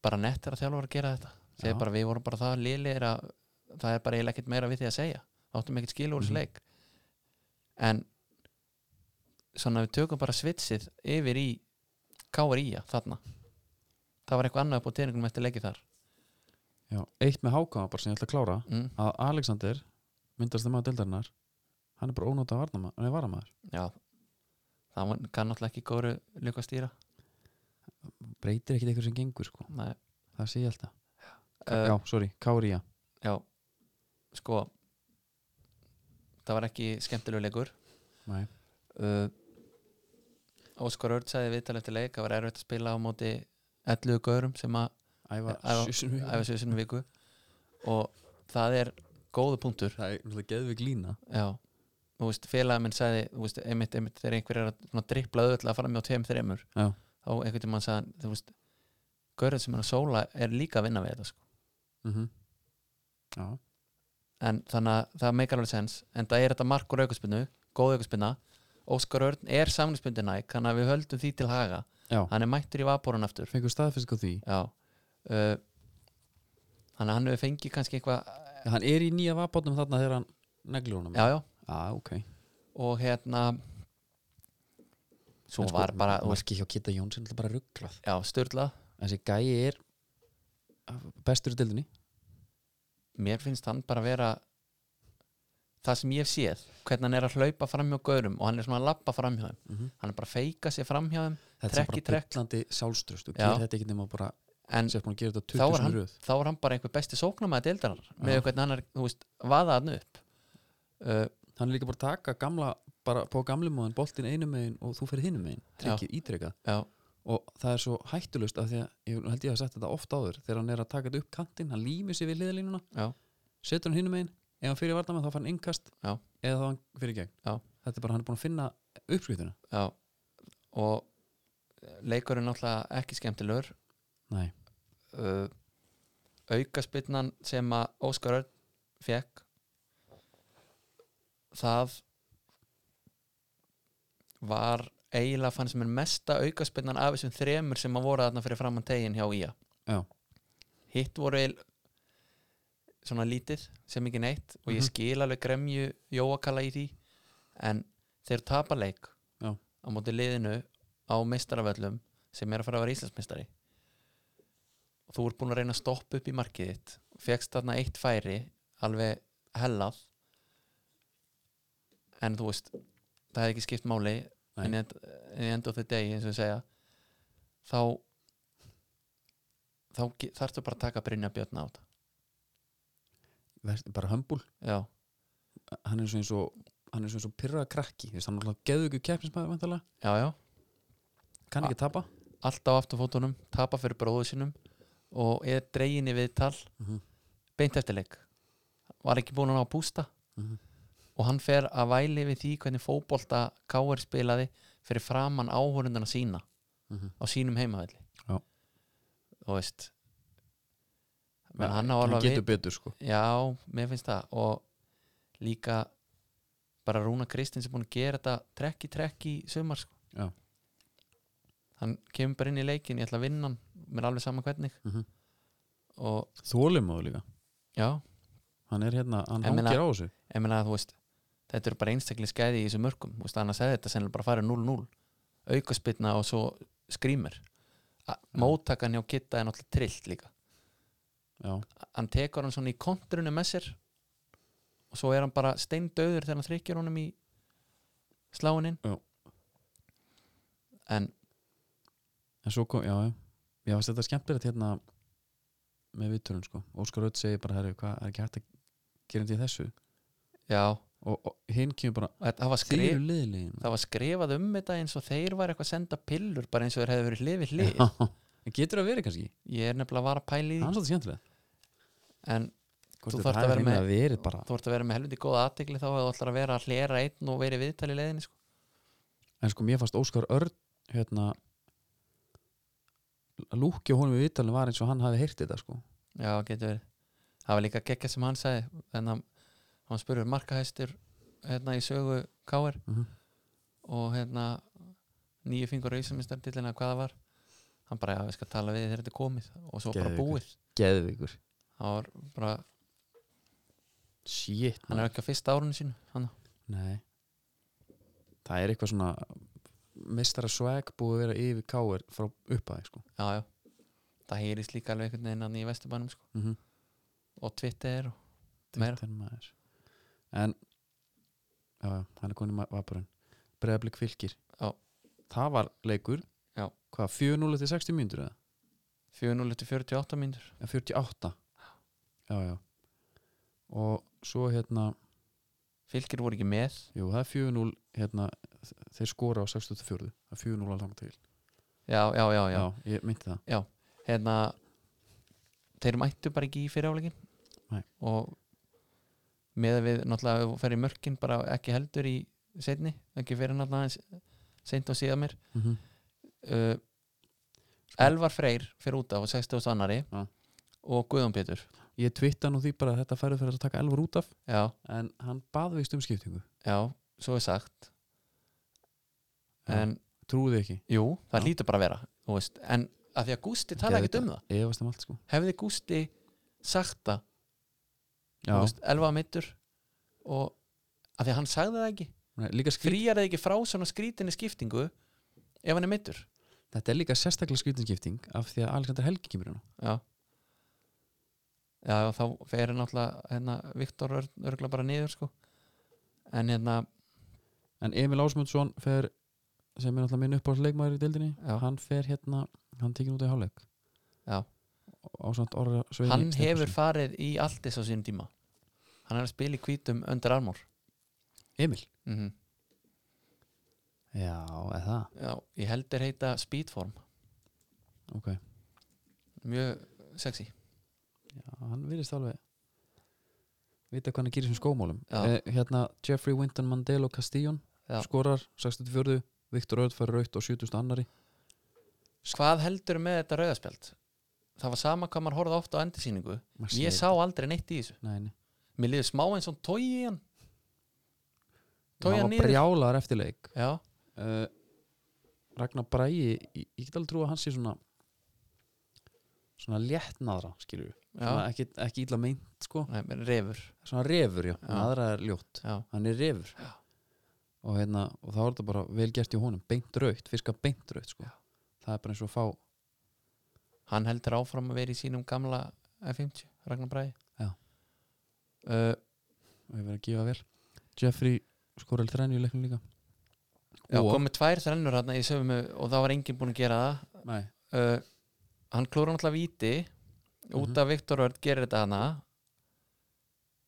bara nettir að þjálfur að gera þetta
Já.
segir bara við vorum bara það lélir að það er bara eiginlega ekkert meira við því að segja áttum ekkert skilu úr þessu
Mhm.
leik en svona við tökum bara svitsið yfir í KRI þarna það var eitthvað annað upp á teiningum eftir leikið þar
Já, eitt með hákáma bara sem ég ætla að klára
mm.
að Alexander, myndast maður deildarinnar hann er bara ónóta varnamaður, nei, varamaður
já það var- kann náttúrulega ekki góru líka að stýra
breytir ekkit eitthvað sem gengur sko
Nei,
það sé ég alltaf,
uh,
já, sorry, Kári já,
Eh, já sko það var ekki skemmtilegu leikur
nei,
uh, Óskar Örd sagði viðtal eftir leik það var erfitt að spila á móti 11 gaurum sem að
æfa,
Æfa-
Sjúsunvík.
æfa sig sinni viku og það er góðu punktur
það er náttúrulega geðvig lína
já þú veist, félagið minn sagði þú veist, einmitt, einmitt, þegar einhver er að svona dripla öll að fara með á tveim þreimur
Já.
þá einhvern tímann sagði hann, þú veist gaurinn sem er að sóla er líka að vinna við þetta sko.
mm já,
en þannig að það meikar alveg sens en það er þetta markur aukaspinnu, góð aukaspinna Óskar Örn er samlingsbundin næk þannig að við höldum því til haga
já,
hann er mættur í vaporun aftur
fengur staðfisk á því
já uh, þannig að hann hefur fengið kannski eitthvað
já, hann er í nýja vapotnum þarna þegar hann neglir honum
já já
ah, ok
og hérna svo
En sko,
var bara þú veist,
marki hjá Kitta Jónsson er bara rugglað
já styrla
þessi gæi er bestur í deildinni
mér finnst hann bara vera það sem ég hef séð hvernig hann er að hlaupa framhjá gaurum og hann er svona að lappa framhjá þeim
mm -hmm.
hann er bara að feika sér framhjá þeim
þetta er
Trekk í
bara
trekk.
byllandi sjálfströst og
Já.
gerir þetta ekki nema bara
en
sem búin að gera þetta
Þá
20
er
sinni röð
þá er hann bara einhver besti sóknamaði deildarar
Já.
með hvernig hann er, þú veist, vaða hann upp uh,
hann er líka bara að taka gamla bara på gamlum og hann boltin einu megin og þú fyrir hinum megin, tryggið ítrekkað
já,
og það er svo hættulust af því að ég held ég að sagt þetta oft áður þegar hann er að taka þetta upp kantinn, hann límir sér við hliðalínuna
já,
setur hann hinum megin, ef hann fyrir varnamenn þá fær hann innkast
Já.
eða þá hann fyrir gegn
Já.
þetta er bara hann er búin að finna uppskriftuna
já og leikurinn náttúrulega ekki skemmtilegur
Nei,
uh, aukaspinnan sem að Óskar Örn fekk það var eiginlega fannst mér mesta aukaspinnan af þessum þremur sem að voru þarna fyrir framann tegin hjá Ía
Já.
hitt voru eil svona lítið sem ekki neitt og ég
Mhm.
skil alveg gremju Jóakala í því en þeir tapa leik
Já.
á móti liðinu á meistaravöllum sem er að fara að vera Íslandsmeistari og þú ert búin að reyna að stoppa upp í markið þitt fegst þarna eitt færi alveg hellað en þú veist það hefði ekki skipt máli
Nei.
en í end of the day eins og við segja þá þá ge- þarftu bara að taka Brynja Björn á þetta
verð- bara hömbul
já,
hann er svo eins og hann er svo eins og pyrra krakki Þú veist, hann er alltaf geðu ykkur keppnismæður vantalega
já, já,
kann
Ah.
ekki tapa
allt á afturfótunum tapa fyrir bróðu sínum og er dregin í viðtal
Mhm.
beint eftir leik var ekki búin að ná að bústa
Mhm.
og hann fer að væli við því hvernig fótbolta K.R. spilaði fyrir framann áhórundana sína
Mhm.
á sínum heimavelli
Já.
þú veist menn hann á alveg
getur betur sko
Já, mér finnst það og líka bara Rúna Kristins er búin að gera þetta trekk í trekk í sumar sko.
Já.
hann kemur bara inn í leikin ég ætla að vinna hann, mér er alveg sama hvernig
Mhm.
og
þólimáðu líka,
já,
hann er hérna hann
Ég meina-
hangir á þessu
ég meina að þú veist þetta eru bara einstaklega skæði í þessu mörkum þú veist, annars hefði þetta sennilega bara farið 0-0 aukaspilna og svo skrýmur móttakan hjá Kitta er náttúrulega trillt líka
já,
hann tekur hann svona í kontrunni með sér og svo er hann bara steindauður þegar hann þrykjur honum í sláinin
Já.
en
en svo kom, já, já ég varst þetta skemmtilegt hérna með vitturinn sko, Óskar Ödd segir bara herri, hvað er ekki hægt að gera þetta í þessu
já, og
og, og hinn kemur bara,
þetta- það var,
þeir
skrif,
eru liðlegin
það var skrifað um þetta eins og þeir var eitthvað að senda pillur bara eins og þeir hefði verið hlið við hlið
en getur það verið kannski,
ég er nefnilega að vara að pæla
hann
í því
er svolítið skemmtilegt
en
Hvort
Þú
þetta
þarft að
hafi
vera með-
hreinlega verið bara,
þú ert að vera með helviti góða aðtegli þá eða þú ætlar að vera að hlera einn og verið viðtal í leiðinni sko.
en sko mér fannst Óskar Örd hérna lúkja honum í vittalinn var eins og hann hafi heyrt þetta sko
já, getur verið það var líka gekkja sem hann sagði en hann, hann spurur markahæstur hérna í sögu K.R.
mm
og hérna nýju fingur auðsamistar til hérna hvað það var hann bara, já, við skal tala við þig þegar þetta er komið og svo bara
Geðveikur.
búið
geðvikur,
hann, var bara,
shit
hann
maður.
er ekki á fyrsta árunni sínu hann,
Nei Það er eitthvað svona mistara swag búið að vera yfir káir frá upphæði sko.
já, já það heyrist líka alveg einhvern veginn hann í vesturbænum sko.
mm -hmm.
og Twitter og Meira.
maður en já, já, hann er konið vapurinn breðablik fylgir
Já.
það var leikur
Já.
hvað, 4-0 til 60 mínútur eða?
4-0 til 48 mínútur
Eða 48 já, já og svo hérna,
fylgir voru ekki með
jú það er 4-0 hérna, þ- þeir skora á 64 það er 4-0 að langa til
já, já, já, já.
ég myndi það
hérna þeir mættu bara ekki í fyriráleikin
Nei.
og með að við náttúrulega ef þú fer í mörkin bara ekki heldur í seinni ekki fyrir náttúrulega seint og síðan mér
mm -hmm.
uh, Elvar Freyr fyrir út á 60. annari
Já.
og Guðjón Pétur
ég twitta nú því bara að þetta færðu fyrir að taka elvar út af
já,
en hann bað vist um skiptingu
já, svo er sagt
Já.
en
trúði ekki
jú, það
Já.
hlýtur bara að vera þú veist, en að því að Gústi tala
Gerði
ekkert um það
efast um allt sko
hefði Gústi sagt það
já,
þú veist, Elvar meittur og að því að hann sagði það ekki
Nei, líka skrít,
fríjar það ekki frá svona skrítinni skiptingu ef hann er meittur
þetta er líka sérstaklega skrítinskipting af því að Alexander Helgi kemur hérna
já já, þá fer náttúrulega hérna, Viktor Örn örgla bara niður sko en hérna,
en Emil Ásmundsson fer sem er náttúrulega minn uppáhalds leikmaður í deildinni
Já.
hann fer hérna, hann tekið út í hálfleik
Já.
ásand orra Sveini
hann
Stefánssyni.
hefur farið í allt þess á sínum tíma hann er að spila í hvítum undir armór
Emil
mm -hmm.
já, eða það,
já, ég heldur heita speedform
ok
mjög sexy
já, hann virðist alveg vita hvað hann gerir sem skómálum
Já.
eh, hérna Jeffrey Winton Mandelo Castillon
Já.
skorar 64 Viktor Örd fær raut á 70 annari
hvað heldur með þetta rauðaspjald það var sama hvað maður horfði oft á endursýningu ég sá aldrei neitt í þessu
nei, nei.
mér liður smá eins og tói í hann
hann
tói hann
var
niður
brjálaðar eftir leik
já,
uh, Ragnar Bræi ég, ég get alveg trú að hann sé svona svona léttnaðra skilur við,
já,
ekki, ekki illa meint sko,
Nei, reyfur
svona refur já,
Já.
naðra er ljótt,
já,
hann er refur og hérna, og þá er þetta bara vel gert í honum, beint raukt, fiska beint raukt sko,
Já.
það er bara eins og að fá
hann heldur áfram að vera í sínum gamla F50, Ragnar Bræði
Já.
uh,
eh, og hefur verið að gefa vel Jeffrey skorar þrenni í leiknum líka
Já,
og,
komið tvær þrennur hérna í sömu og það var enginn búinn að gera
nei,
það uh, Hann klúra náttúrulega víti út
Mhm.
af Viktor Örd gerir þetta hana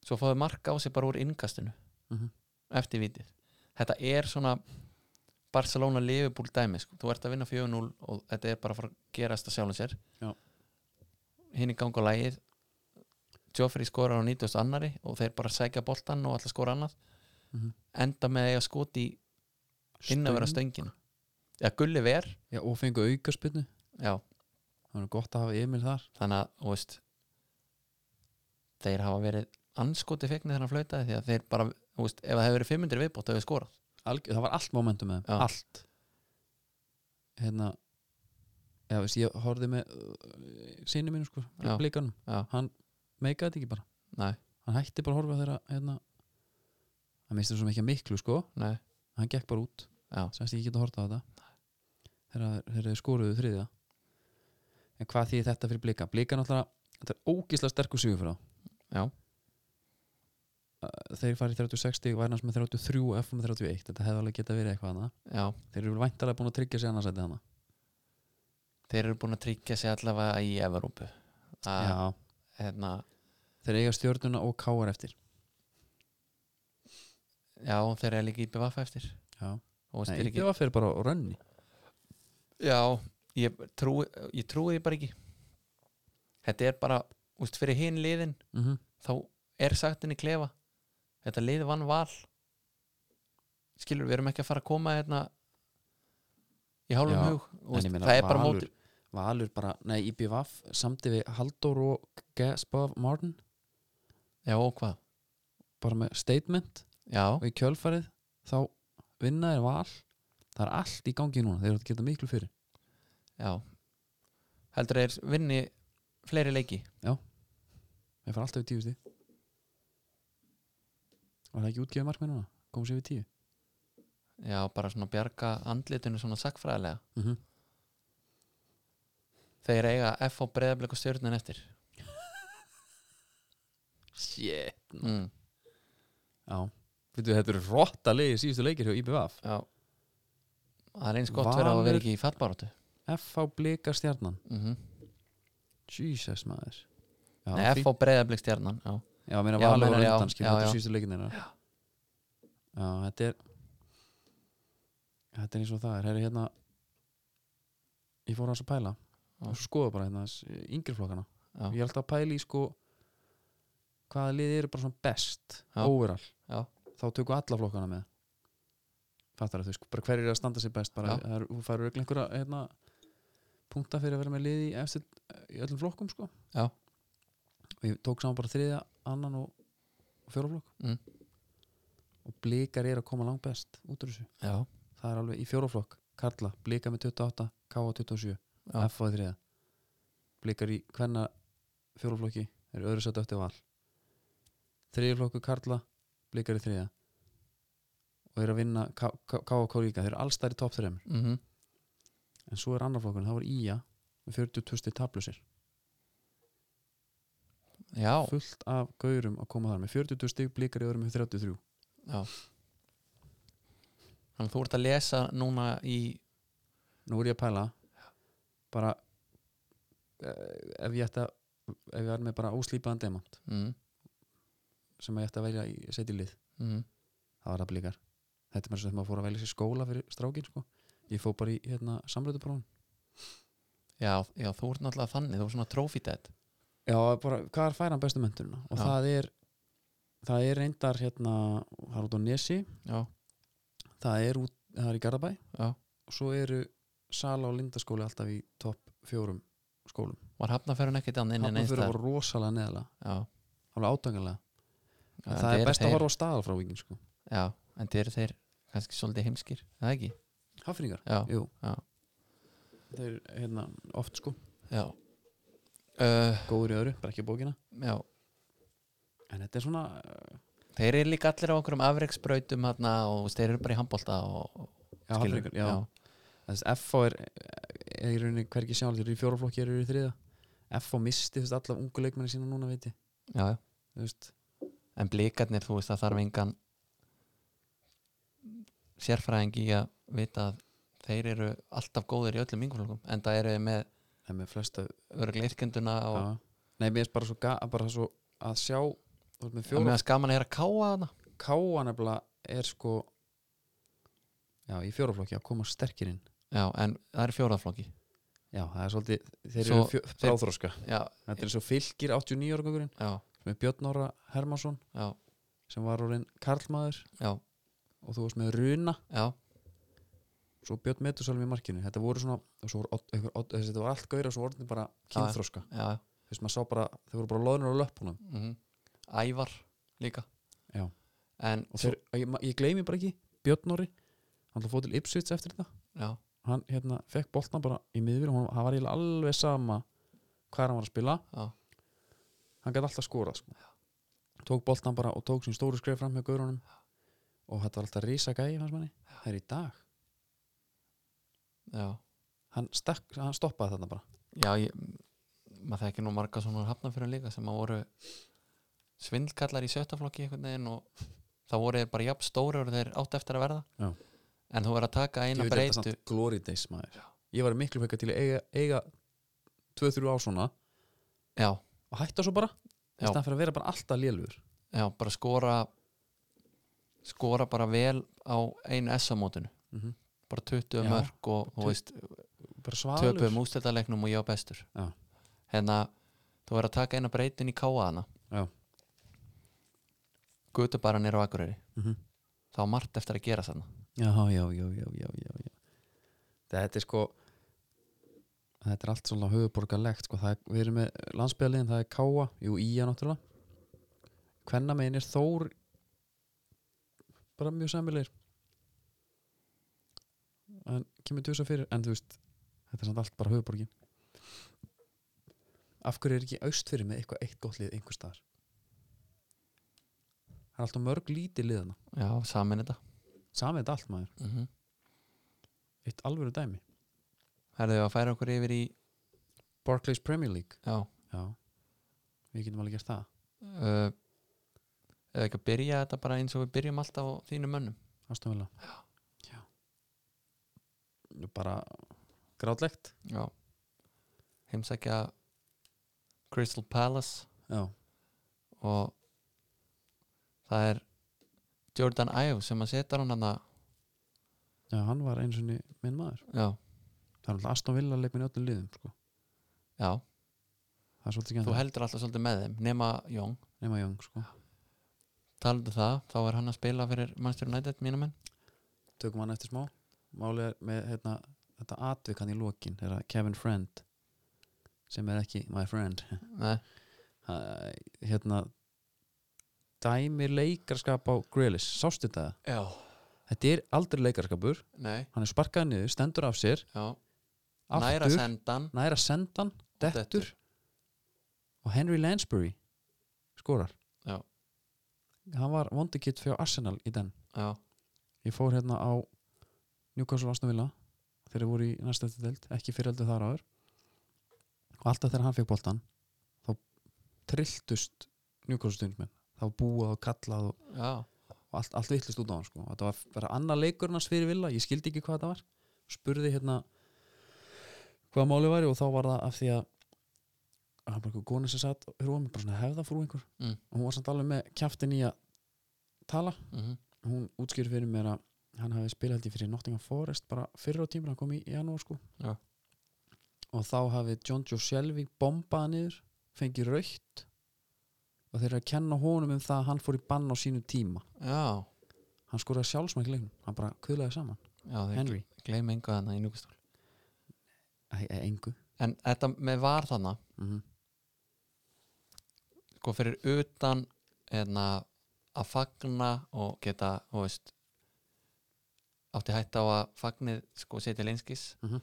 svo fóðu mark á sig bara úr innkastinu
Mhm.
eftir vítið Þetta er svona Barcelona Liverpool dæmi sko. þú ert að vinna 4-0 og þetta er bara að fara að gerast að sjálfum sér
Já.
Hinn í gang og lægið Joffrey skorar á 90. annari og þeir bara sækja boltan og alltaf skora annað
Mhm.
enda með að eiga skoti í inn að vera
stöng.
stöngin já, gulli ver
já, og fengu aukaspinnu,
já,
það er gott að hafa Emil þar
þannig að, þú veist þeir hafa verið anskoti fegni þegar hann flautaði því að þeir bara, þú veist, ef það hefur verið 500 viðbótt hefur skorað,
Alg, það var allt momentum með þeim,
Já.
allt hérna já, veist, ég horfði með uh, sinni mínu sko,
Já.
blikanum
Já.
hann meikaði þetta ekki bara
Nei.
hann hætti bara að horfa þeirra hérna, hann misti svo mikið að miklu sko
nei,
hann gekk bara út,
já,
semst ég geta horfði á þetta þegar þeir þeir skoruðu þriðja en hvað því þetta fyrir blika blika náttúrulega, þetta er ógislega sterkur sigur fyrir þá
Já.
Uh, þeir farið 36 stig værnast með 33 F með 31 þetta hefði alveg geta verið eitthvað annað
já
Þeir eru væntalega búin að tryggja sér annarsæti hana
þeir eru búin að tryggja sig allavega í Evrópu að,
Já,
hérna,
þeir eiga stjórnuna og káar eftir
já, þeir eru líka í BVF eftir
Já,
og
Nei,
þeir eru
ekki
ekki,
var fyrir bara á rönni
já, ég trúi ég trúi því bara ekki þetta er bara, þú veist, fyrir hinn liðin
mm -hmm.
þá er sagt henni klefa þetta lið vann val skilur, við erum ekki að fara að koma hérna í hálfum
Já,
hug Þú veist, það er bara móti
Valur bara, nei, IBVF samti við Halldór og Gaspov Martin
já, og hvað,
bara með statement
já,
og í kjölfarið þá vinna er val það er allt í gangi núna, þeir eru að geta miklu fyrir
já heldur þeir vinni fleiri leiki
þeir fara alltaf við tíu stíð Var það ekki útgefið markmið núna? Komum sér við tíu
já, bara svona bjarga andlitinu svona sakfræðilega
mm -hmm.
þeir eiga F á breyðablik og stjörnun eftir
Shit
mm.
Já, veitum þetta eru rotta leiði síðustu leikir hjá IBVF
já það er eins gott verið að
Valur-
vera ekki í fallbaróttu
F á blika stjarnan
mm
Jesus maður Já,
Nei, F á breyðablik stjarnan já.
Já, meina
Já,
Valur og
meinar, já,
undan skilur
já,
þetta
já.
er síðustu leikin þeirra Já, þetta er Þetta er eins og það er Herri, hérna Ég fór hans að pæla
Já.
og skoða bara hérna þess, eh, yngri flokkana
Já.
Ég er alltaf að pæla í sko hvaða liði eru bara svona best
Já.
overall
Já.
þá tökum alla flokkana með fattar þau sko, bara hverju er að standa sér best bara,
Já.
það er, þú færur öll einhverja hérna, punkta fyrir að vera með liði í, eftir, í öllum flokkum sko
Já.
og ég tók saman bara þriðja, annan og, og fjóraflokk
Mm.
og blikar er að koma langt best út úr þessu,
já,
það er alveg í fjóraflokk Karla, blika með 28, K 27
Já.
F á þriða blikar í hvenna fjóraflokki er öðru sætt eftir val þriðaflokku Karla blikar í þriða og er að vinna K og K líka þeir eru alls þær í topp þreim
mhm
en svo er annar flokkurinn, þá er Ía með 42 stig tablusir
já,
fullt af gaurum að koma þar með 42 stig blikar í öðrum með 33
þannig að þú ert að lesa núna í
nú er ég að pæla bara eh, ef ég ætti að ef ég var með bara óslýpaðan demant
mm,
sem ég ætti að velja í setja í lið
mm,
það var það blikar þetta er mér svo þegar maður fór að velja sér skóla fyrir strákin sko. ég fó bara í hérna, samröðuprófun
já, já, þú ert náttúrulega þannig þú ert svona trófítætt
já, bara, hvað er færan bestu menturina og
Já.
það er það er reyndar hérna, það er út á Nesi
já,
það er, út, það er í Garðabæ
já,
og svo eru Sala og Lindaskóli alltaf í topp fjórum skólum
var hafnaferðin ekkit annað inn en
það
eins
fyrir að
þar
voru rosalega neðala
já,
alveg átanganlega,
já,
en
en
það
þeir-
er best að
þeir-
horfa á staðalfrávingin sko.
já, en þeir eru þeir kannski svolítið heimskir, er það ekki
hafningar,
já,
jú
Já.
þeir hérna, oft sko,
já uh,
góður í öðru bara ekki í bókina,
já,
en þetta er svona eh,
þeir eru líka allir á einhverjum afreiksbrautum þarna og þú veist, þeir eru bara í handbolta og, og
já,
skilur,
hafningar, já. Þess, FH er, eh, er í rauninni hvergi sjálf þeir eru í fjóraflokki, þeir eru í þriða FH misti þess, alla ungu leikmenni sína núna veit ég
já, já,
Þú veist,
en blikarnir, þú veist, það þarf engan sérfræðing í að vita að þeir eru alltaf góðir í öllum yngurflokkum en það eru þeir með
það er með flesta
örgleirkenduna og
já. Nei, mér er bara svo, ga, bara svo að sjá þú veist, með
að
fjóra
meðan skaman er að káa hana
káa nefnilega er sko já, í fjóraflokki að koma sterkir inn
já, en það er fjóraðflokki
já, það er svolítið, þeir
Svo-
eru fjó, bráþróska
já,
þetta er svo fylgir 89 ára gangurinn
já,
með Björn Óra Hermansson
já,
sem var orðin karlmaður
já,
og þú varst með Runa
já,
svo Björn Metusalm í markinu þetta voru svona, og svo voru odd, einhver, odd, þessi, þetta var allt gauðir og svo orðin bara
Já, já.
kynþróska
já
þess maður sá bara, þau voru bara loðnur á löpunum
mm ævar líka
Já.
en
og
svo,
þeir, ég, ma- ég gleymi bara ekki, Björn Norri hann ætla að fóð til Ipswich eftir þetta
já,
hann hérna, fekk boltan bara í miður og hann var eiginlega alveg sama hvað hann var að spila
já,
hann gæti alltaf skorað sko. tók boltan bara og tók sín stóru skreif fram hjá gaurunum og þetta var alltaf risa gæi fannst manni, það er í dag
já
hann, stakk, hann stoppaði þarna bara
já, ég, maður þekki nú marga svona hafnafyrir líka sem að voru svindlkallar í sjöttaflokki einhvern veginn og það voru þeir bara jafn stóri og þeir átt eftir að verða
Já.
en þú verður að taka eina
Ég veit þetta
breytu
samt glory days maður ég var miklu fekka til að eiga, eiga 2-3 ár svona
já,
og hætta svo bara í
Já.
staðan fyrir að vera bara alltaf lélugur
já, bara skora skora bara vel á einu S-mótinu
mm -hmm.
bara 20
Já.
mörg og þú
Tu-
veist,
bara svaðalur
töpuðum ústættalegnum og ég var bestur
Já.
hérna þú verður að taka eina breytin í káaðana
Já.
Gutubaran er á Akureyri
Mhm.
þá er margt eftir að gera þarna
já, já, já, já, já, já, já. þetta er sko þetta er allt svona höfuborgarlegt sko. það er, við erum með landsbyðaliðin, það er Káa jú, Ía náttúrulega hvenna megin er Þór bara mjög samilegir en kemur tjósa fyrir, en þú veist þetta er samt allt bara höfuborgin af hverju er ekki aust fyrir með eitthvað eitt gott lið einhver staðar það er alltaf mörg lítið liðana
já, samin þetta
samið þetta allt maður,
mm -hmm.
eitt alvöru dæmi
Herðu að færa okkur yfir í
Barclays Premier League,
já,
já við getum alveg gert það,
uh, eða ekki að byrja þetta bara eins og við byrjum alltaf á þínum mönnum
aðstofnvila já Nú bara grátlegt
já heimsækja Crystal Palace
já,
og það er Jordan Ives sem að setja hann hann
já hann var eins og minn maður
já,
það er alltaf aðstofnvila leikminn í öllum liðum sko.
já,
það er svolítið
þú
skemmt
heldur alltaf svolítið með þeim nema Jón,
nema Young sko.
talaðu það þá er hann að spila fyrir Manchester United mínum menn
tökum hann eftir smá málið er með hérna, þetta atvikan í lokin þegar að Kevin Friend sem er ekki my friend
Nei,
ha- hérna dæmir leikarskap á Grealish sástu þetta?
já,
Þetta er aldrei leikarskapur
nei
hann er sparkaði niður, stendur af sér
já, næra
aftur,
sendan
næra sendan dettur,
dettur.
og Henry Lansbury skorar
Já.
hann var vondikitt fyrir Arsenal í den
já,
ég fór hérna á Newcastle Aston Villa þegar þeir voru í næsta delt, ekki fyrir heldur þar áður og alltaf þegar hann fekk boltan þá trilltust Newcastle stundmenn, þá búað og kallað og,
já,
og allt, allt vittlist út á hann sko. og þetta var bara annar leikurinn hans fyrir Villa ég skildi ekki hvað þetta var, spurði hérna hvað máli var og þá var það af því að að hann bara eitthvað góna sem satt hrúa mig bara svona hefða frú einhver
Mm.
og hún var samt alveg með kjaftin í að tala
mhm
hún útskýr fyrir mér að hann hafi spilað held ég fyrir Nottingham Forest bara fyrir á tímur, hann kom í janúar sko
Já.
og þá hafi John Joe Shelby bombað hann niður fengið raukt og þeir eru að kenna honum um það að hann fór í bann á sínu tíma
Já,
hann skoraði sjálfsmæk leiknum, hann bara kuðlaði saman
já þeir
Henry,
gleymi engu þarna í núkustól
Æ, æ, engu
En þetta með var þarna
mm -hmm.
sko fyrir utan eðna, að fagna og geta, þú veist átti hætt á að fagnið sko setja leinskis
Mhm.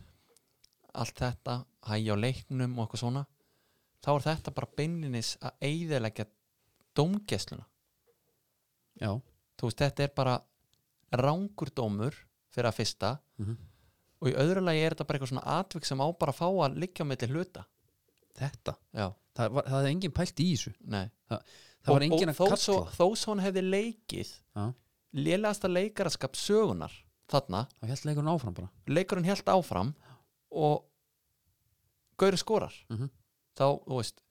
allt þetta, hægja á leiknum og eitthvað svona þá er þetta bara beinlinis að eyðileggja dómgesluna
já,
þú veist, þetta er bara rángur dómur fyrir að fyrsta
mm
og í öðru lagi er þetta bara eitthvað svona atvik sem á bara að fá að liggja á milli hluta
þetta
Já,
það, var, það hefði enginn pælt í þessu
nei
það var enginn að
þó
kalla
svo, þó svo hann hefði leikið
Já.
lélegasta leikaraskap sögunar þarna,
þá held leikurinn áfram bara
leikurinn helt áfram og gauri skorar
Mhm.
þá, þú veist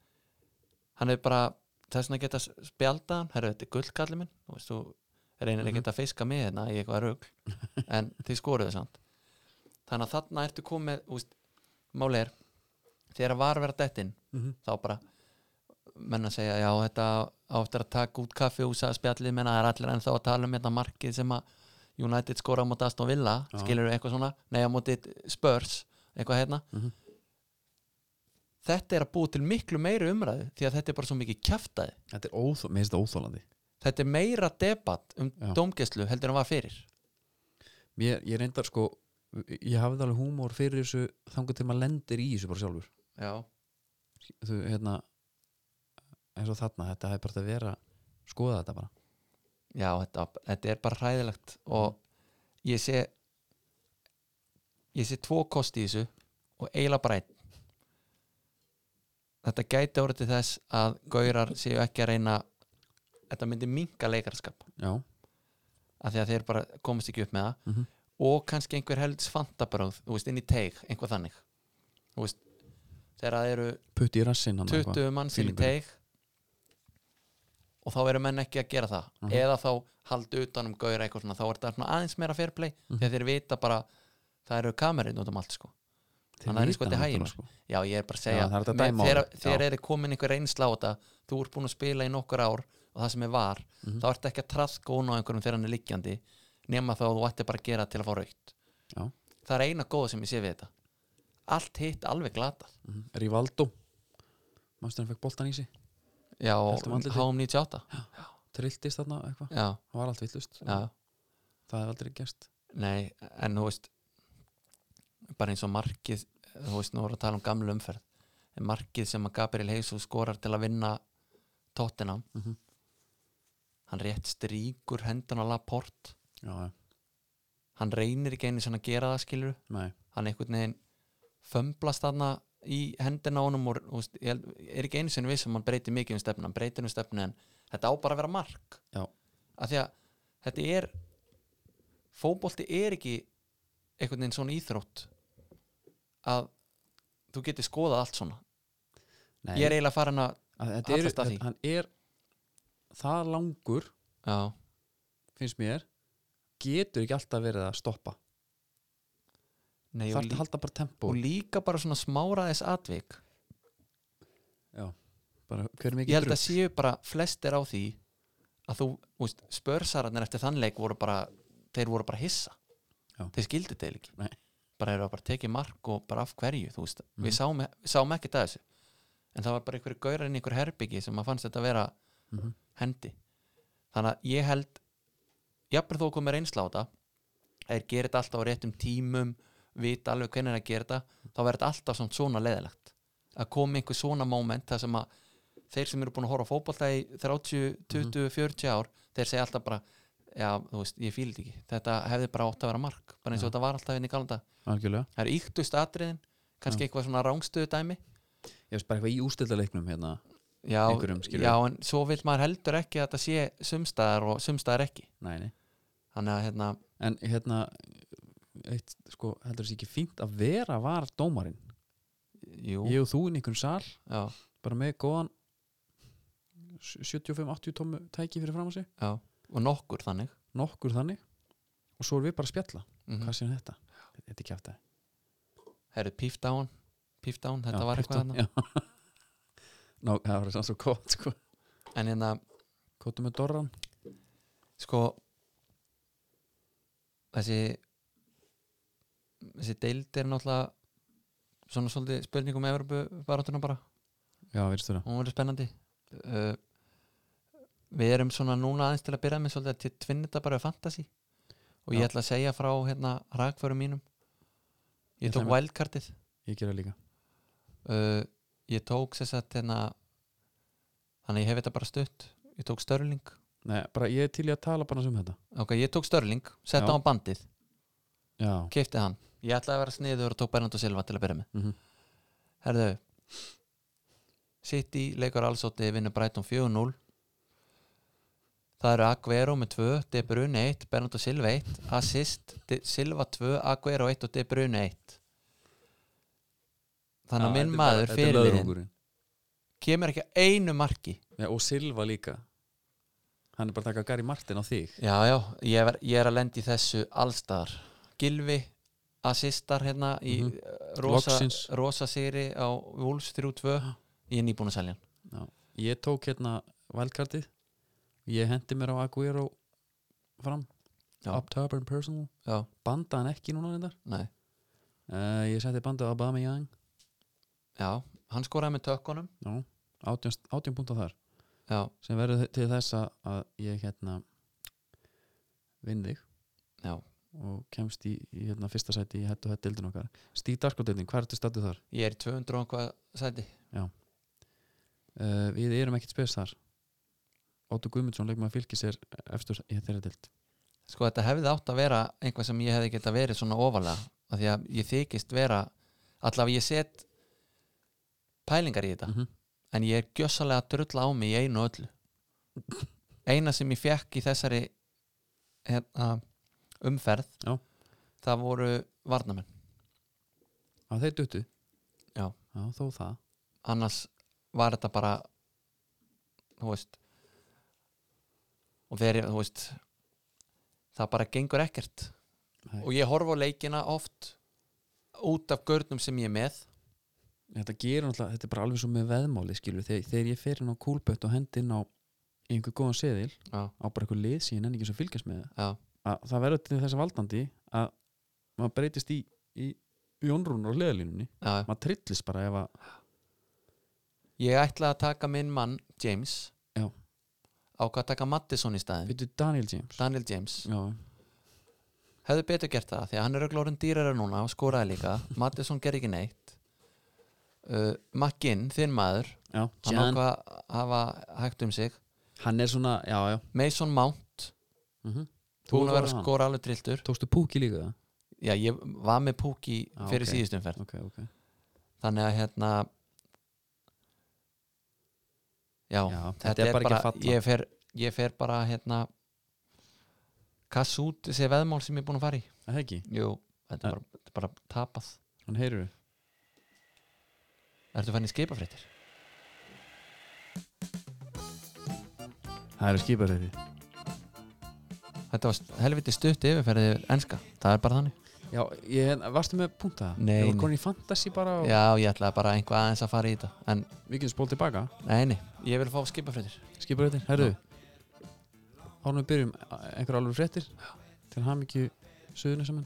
hann hefði bara, þess vegna geta spjaldað hann, herrðu þetta er gullkalli minn þú veist, þú reynir mm
Mhm.
ekki að fiska með hérna í eitthvað rugl, en þið skoruðu samt þannig að þarna ertu komið, þú veist, máli er þegar var að vera dettin
mm -hmm.
þá bara menn að segja, já þetta áttur að taka út kaffi og sagði spjallið menna það er allir ennþá að tala um þetta markið sem að United skora á móti Aston Villa
Já.
skilur við eitthvað svona, nei á móti Spurs eitthvað hérna
Mhm.
þetta er að búa til miklu meiri umræðu því að þetta er bara svo mikið kjaftaði
þetta er óþó, mér finnst þetta óþólandi
þetta er meira debatt um
Já.
dómgæslu heldur en var fyrir
Mér, ég reyndar sko ég hafði alveg húmór fyrir þessu þangar til maður lendir í þessu bara sjálfur
já,
þú, hérna eins og þarna, þetta hefði bara átt að vera skoða þetta bara
já þetta, þetta er bara hræðilegt og ég sé ég sé tvo kosti í þessu og eiginlega bara einn þetta gæti orðið til þess að gaurar séu ekki að reyna þetta myndi minka leikarskap
já,
af því að þeir bara komast ekki upp með það
Mhm.
og kannski einhver helds fantabráð þú veist, inn í teig, einhvað þannig þú veist, þegar það eru
putt í rassinn hann
20 manns inn í
feelingur.
teig og þá eru menn ekki að gera það
Mhm.
eða þá haldi utanum gauðra eitthvað svona þá er þetta svona aðeins meira fairplay
Mhm.
þegar þeir vita bara það eru kamerinn út um allt sko
Þeir
hann er í
vita
sko til
náttúrulega,
hæginu.
sko.
já ég er bara að segja
Já, það er hægt að
með-
dæma á
þegar,
það.
þegar
Já.
er komin einhver reynsla á þetta þú ert búin að spila í nokkur ár og það sem er var
Mhm.
þá ert ekki að traðka hún á einhverjum þegar hann er liggjandi nema þá að þú ætti bara að gera til að fá raukt
Já.
það er eina góða sem ég sé við þetta allt hitt alveg glatað
Mhm. Rivaldo mannstu hann fekk boltan í sig,
já,
Heltum andliti.
HM 98
trilltist þarna eitthvað
já,
það var allt villust,
já.
það hefði aldrei gerst
Nei, en þú veist bara eins og markið þú veist, nú voru að tala um gamlu umferð en markið sem að Gabriel Jesus skorar til að vinna tóttina
Mhm.
hann rétt stríkur hendun á Laport
já, já.
hann reynir ekki einu sem að gera það skilur
Nei,
hann einhvern veginn fömblast þarna í hendina á honum og þú veist, ég held- er ekki einu sinni viss sem hann breytir mikið um stefnu, hann breytir um stefnu en þetta á bara að vera mark
Já.
af því að þetta er fótbolti er ekki einhvern veginn svona íþrótt að þú getur skoðað allt svona
nei
ég er eiginlega farin að
að þetta er,
hallast að því.
hann er það langur,
já,
finnst mér getur ekki alltaf verið að stoppa
nei,
þarf
og,
að
lí,
halda bara tempó
og líka bara svona smáraðis atvik
bara, hver er
ég
mikið
held að séu bara flestir á því að þú, þú veist, spörsararnir eftir þann leik voru bara, þeir voru bara hissa
Já.
þeir skildi þetta ekki
Nei.
bara eru að bara tekið mark og bara af hverju þú veist,
Mhm.
við sáum, e- við sáum ekki það þessu en það var bara einhverju gaurinn í einhverju herbyggi sem að fannst þetta að vera
mm -hmm.
hendi þannig að ég held jafnvel þó komið reynsla á þetta að þeir gerir þetta alltaf á réttum tímum vita alveg hvernig er að gera þetta þá verður þetta alltaf samt svona leðilegt að koma einhver svona moment þar sem að þeir sem eru búin að horfa á fótbolta í 30,
Mhm.
20, 40 ár þeir segja alltaf bara já, þú veist, ég fíl þetta ekki þetta hefði bara átt að vera mark bara eins og
Já.
þetta var alltaf inn í galanda
algjörlega
það eru íktust atriðin, kannski eitthvað svona rángstöðu dæmi
ég veist bara eitthvað í ústildaleiknum hérna
já,
Einhverjum, skilur.
já, en svo vil maður heldur ekki að þetta sé sumstaðar og sumstaðar ekki
nei, nei.
þannig að hérna,
en hérna eitt, sko, heldur þessi ekki fínt að vera var dómarinn,
jú,
ég og þú inn í einhvern sal
já,
bara með góðan 75-80 tómu tæki fyrir fram að sig,
já og nokkur þannig
nokkur þannig og svo erum við bara að spjalla,
mm
hvað séum þetta þetta er kjæft
herru, píft á hann píft á hann, þetta var eitthvað hérna
hérna Ná, það var sann svo kótt sko.
en hérna,
Kóttu með Dorran
sko þessi þessi deild er náttúrulega svona svolítið spurningum Evropu barátuna bara,
Já, virðstu það
hún verður spennandi uh, við erum svona núna aðeins til að byrja með svolítið til tvinnita bara við fantasy og
Já.
ég ætla að segja frá hérna rakförum mínum
Ég
ég tók
ætla
wildcardið
Ég gera líka
uh, ég tók sér satt hérna þannig að ég hef þetta bara stutt ég tók Störling
Nei, bara ég er til í að tala bara um þetta
ok, ég tók Störling, setta
Já.
á hann bandið
Já
keipti hann, ég ætlaði að vera sniður og tók Bernardo Silva til að byrja með
mm
herðu City leikur allsótti vinnur Brighton 4-0 það eru Aguero með 2 De Bruyne 1, Bernardo Silva 1 assist, De Silva 2 Aguero 1 og De Bruyne 1 þannig að minn maður fyrirliðin kemur ekki að einu marki
Já, og Silva líka Hann er bara að taka Gary Martin á þig
Já, já, ég er, ég er að lendi þessu allstar Gilvi assistar hérna í mm
Mhm.
rosa,
Loksins.
rosa sigri á Wolves 3-2 ég er nýbúin að selja hann
Ég tók hérna valkartið Ég hendi mér á Aguero fram
Já.
Up top and personal
Já,
Banda hann ekki núna reyndar
nei,
uh, Ég setti bandið á Obama Young
já, hann skoraði með tökkunum
Já, 18 18 púnta þar
Já,
sem verður til þess að- að ég hérna vinn þig
Já.
og kemst í, í hérna fyrsta sæti í hættu hættu dildin okkar Stíð Darko-dildin, hvað ertu stættu þar?
ég er í 200 og hvað sæti
Uh, við erum ekkit spes þar Óttu Guðmundsson leikum að fylgis er eftir í þeirra dild
Sko, þetta hefði átt að vera einhvað sem ég hefði geta verið svona ofalega af því að ég þykist vera allavega ég set pælingar í þetta
mm -hmm.
en ég er gjössalega að drulla á mig í einu og öllu eina sem ég fekk í þessari hérna, umferð
Já.
það voru varnamenn
að þeir duttu
Já.
þó það
annars var þetta bara þú veist og þeir, þú veist það bara gengur ekkert
Nei.
og ég horfa á leikina oft út af görnum sem ég er með
þetta gerir náttúrulega, þetta er bara alveg svo með veðmáli skilur, þegar, þegar ég fer inn á kúlbött og hendi inn á einhver góðan seðil
Já.
á bara eitthvað lið sem ég nenni ekki eins og fylgjast með
Já.
að það verður til þess að valdandi að maður breytist í, í, í onrún og leðalínunni,
Já.
maður trillist bara ef að
ég ætla að taka minn mann James
Já.
ákvað að taka Mattisson í staðin
veitu Daniel James
Daniel James
já,
hefðu betur gert það því að hann er öglórun dýrara núna og skoraði líka Mattisson ger ekki neitt uh, Makkinn, þinn maður
já,
hann
Jan,
ákvað að hafa hægt um sig
hann er svona já, já,
Mason Mount
mhm,
búin að
þú
vera
hann?
skora alveg trilltur
Tókstu púki líka það?
já, ég var með púki
Ah,
fyrir
ok.
okay. síðustumferð
Ok, ok
þannig að hérna já,
Já, þetta,
þetta er
ekki að
bara
falla
ég fer, ég fer bara hérna kass út þessi veðmál sem ég er búin að fara í
Er Það ekki,
jú, þetta
Ja.
er bara, þetta er bara tapað
hann heyrur
ertu fann í skipafréttir?
Það eru skiparreiti
þetta var helviti stutt yfirferði yfir enska, það er bara þannig
Já, ég, hérna, varstu með punta? Ég
Nei,
var
nei.
konin í fantasy bara og
já, ég ætlaði bara einhvað aðeins að fara í þetta en
við getum spól tilbaka
neini, ég vil fá skipafréttir
Skiparreiti, herðu Árum við byrjum a- einhver alveg fréttir Til hann ekki söðuna saman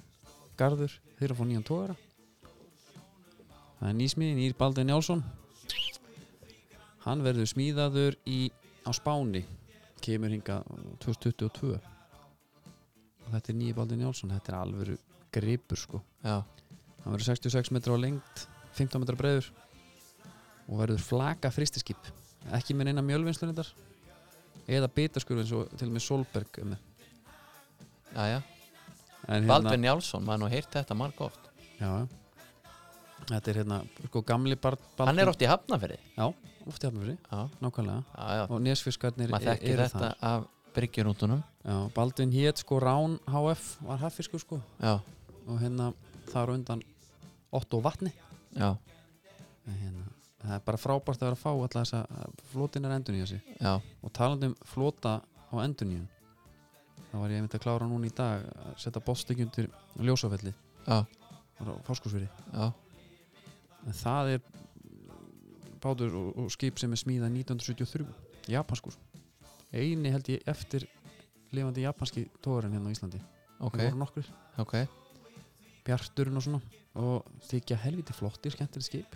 Garður, þeir eru að fá nýjan tóðara Það er nýsmiði, nýr Baldur Njálsson Hann verður smíðaður í, á Spáni Kemur hingað 2022 Og þetta er nýr Baldur Njálsson Þetta er alvöru gripur sko
já,
hann verður 66 metra á lengt 15 metra breiður og verður flaka fristiskip ekki með neina mjölvinnslunindar eða bitaskur eins og til og með Solberg um.
já, já
en hérna-
Baldvin Njálsson, maður nú heyrt þetta marg oft
já, já. þetta er hérna sko, gamli bar, Baldvin
hann er oft í hafnafyrði
oft í hafnafri,
já,
nákvæmlega
já, já,
og nesfiskarnir
maður
er,
þekkir
eru
þetta af bryggjurútunum
það já, Baldvin hét sko Rán HF var haffiskur sko
já,
og hérna þar á undan 8 og vatni
já,
En hérna, það er bara frábært að vera að fá alltaf þess að flotin er endun í þessi
já,
og talandi um flota á endurnýjun þá var ég myndi að klára núna í dag að setja bóttstekjum til ljósafelli
já,
á fáskursfyrir
já
en það er bátur og, og skip sem er smíða 1973 japanskur eini held ég eftir lifandi japanski tóðurinn hérna á Íslandi
ok,
það voru nokkur,
ok,
bjarturinn og svona og þykja helviti flottir skemmtir skip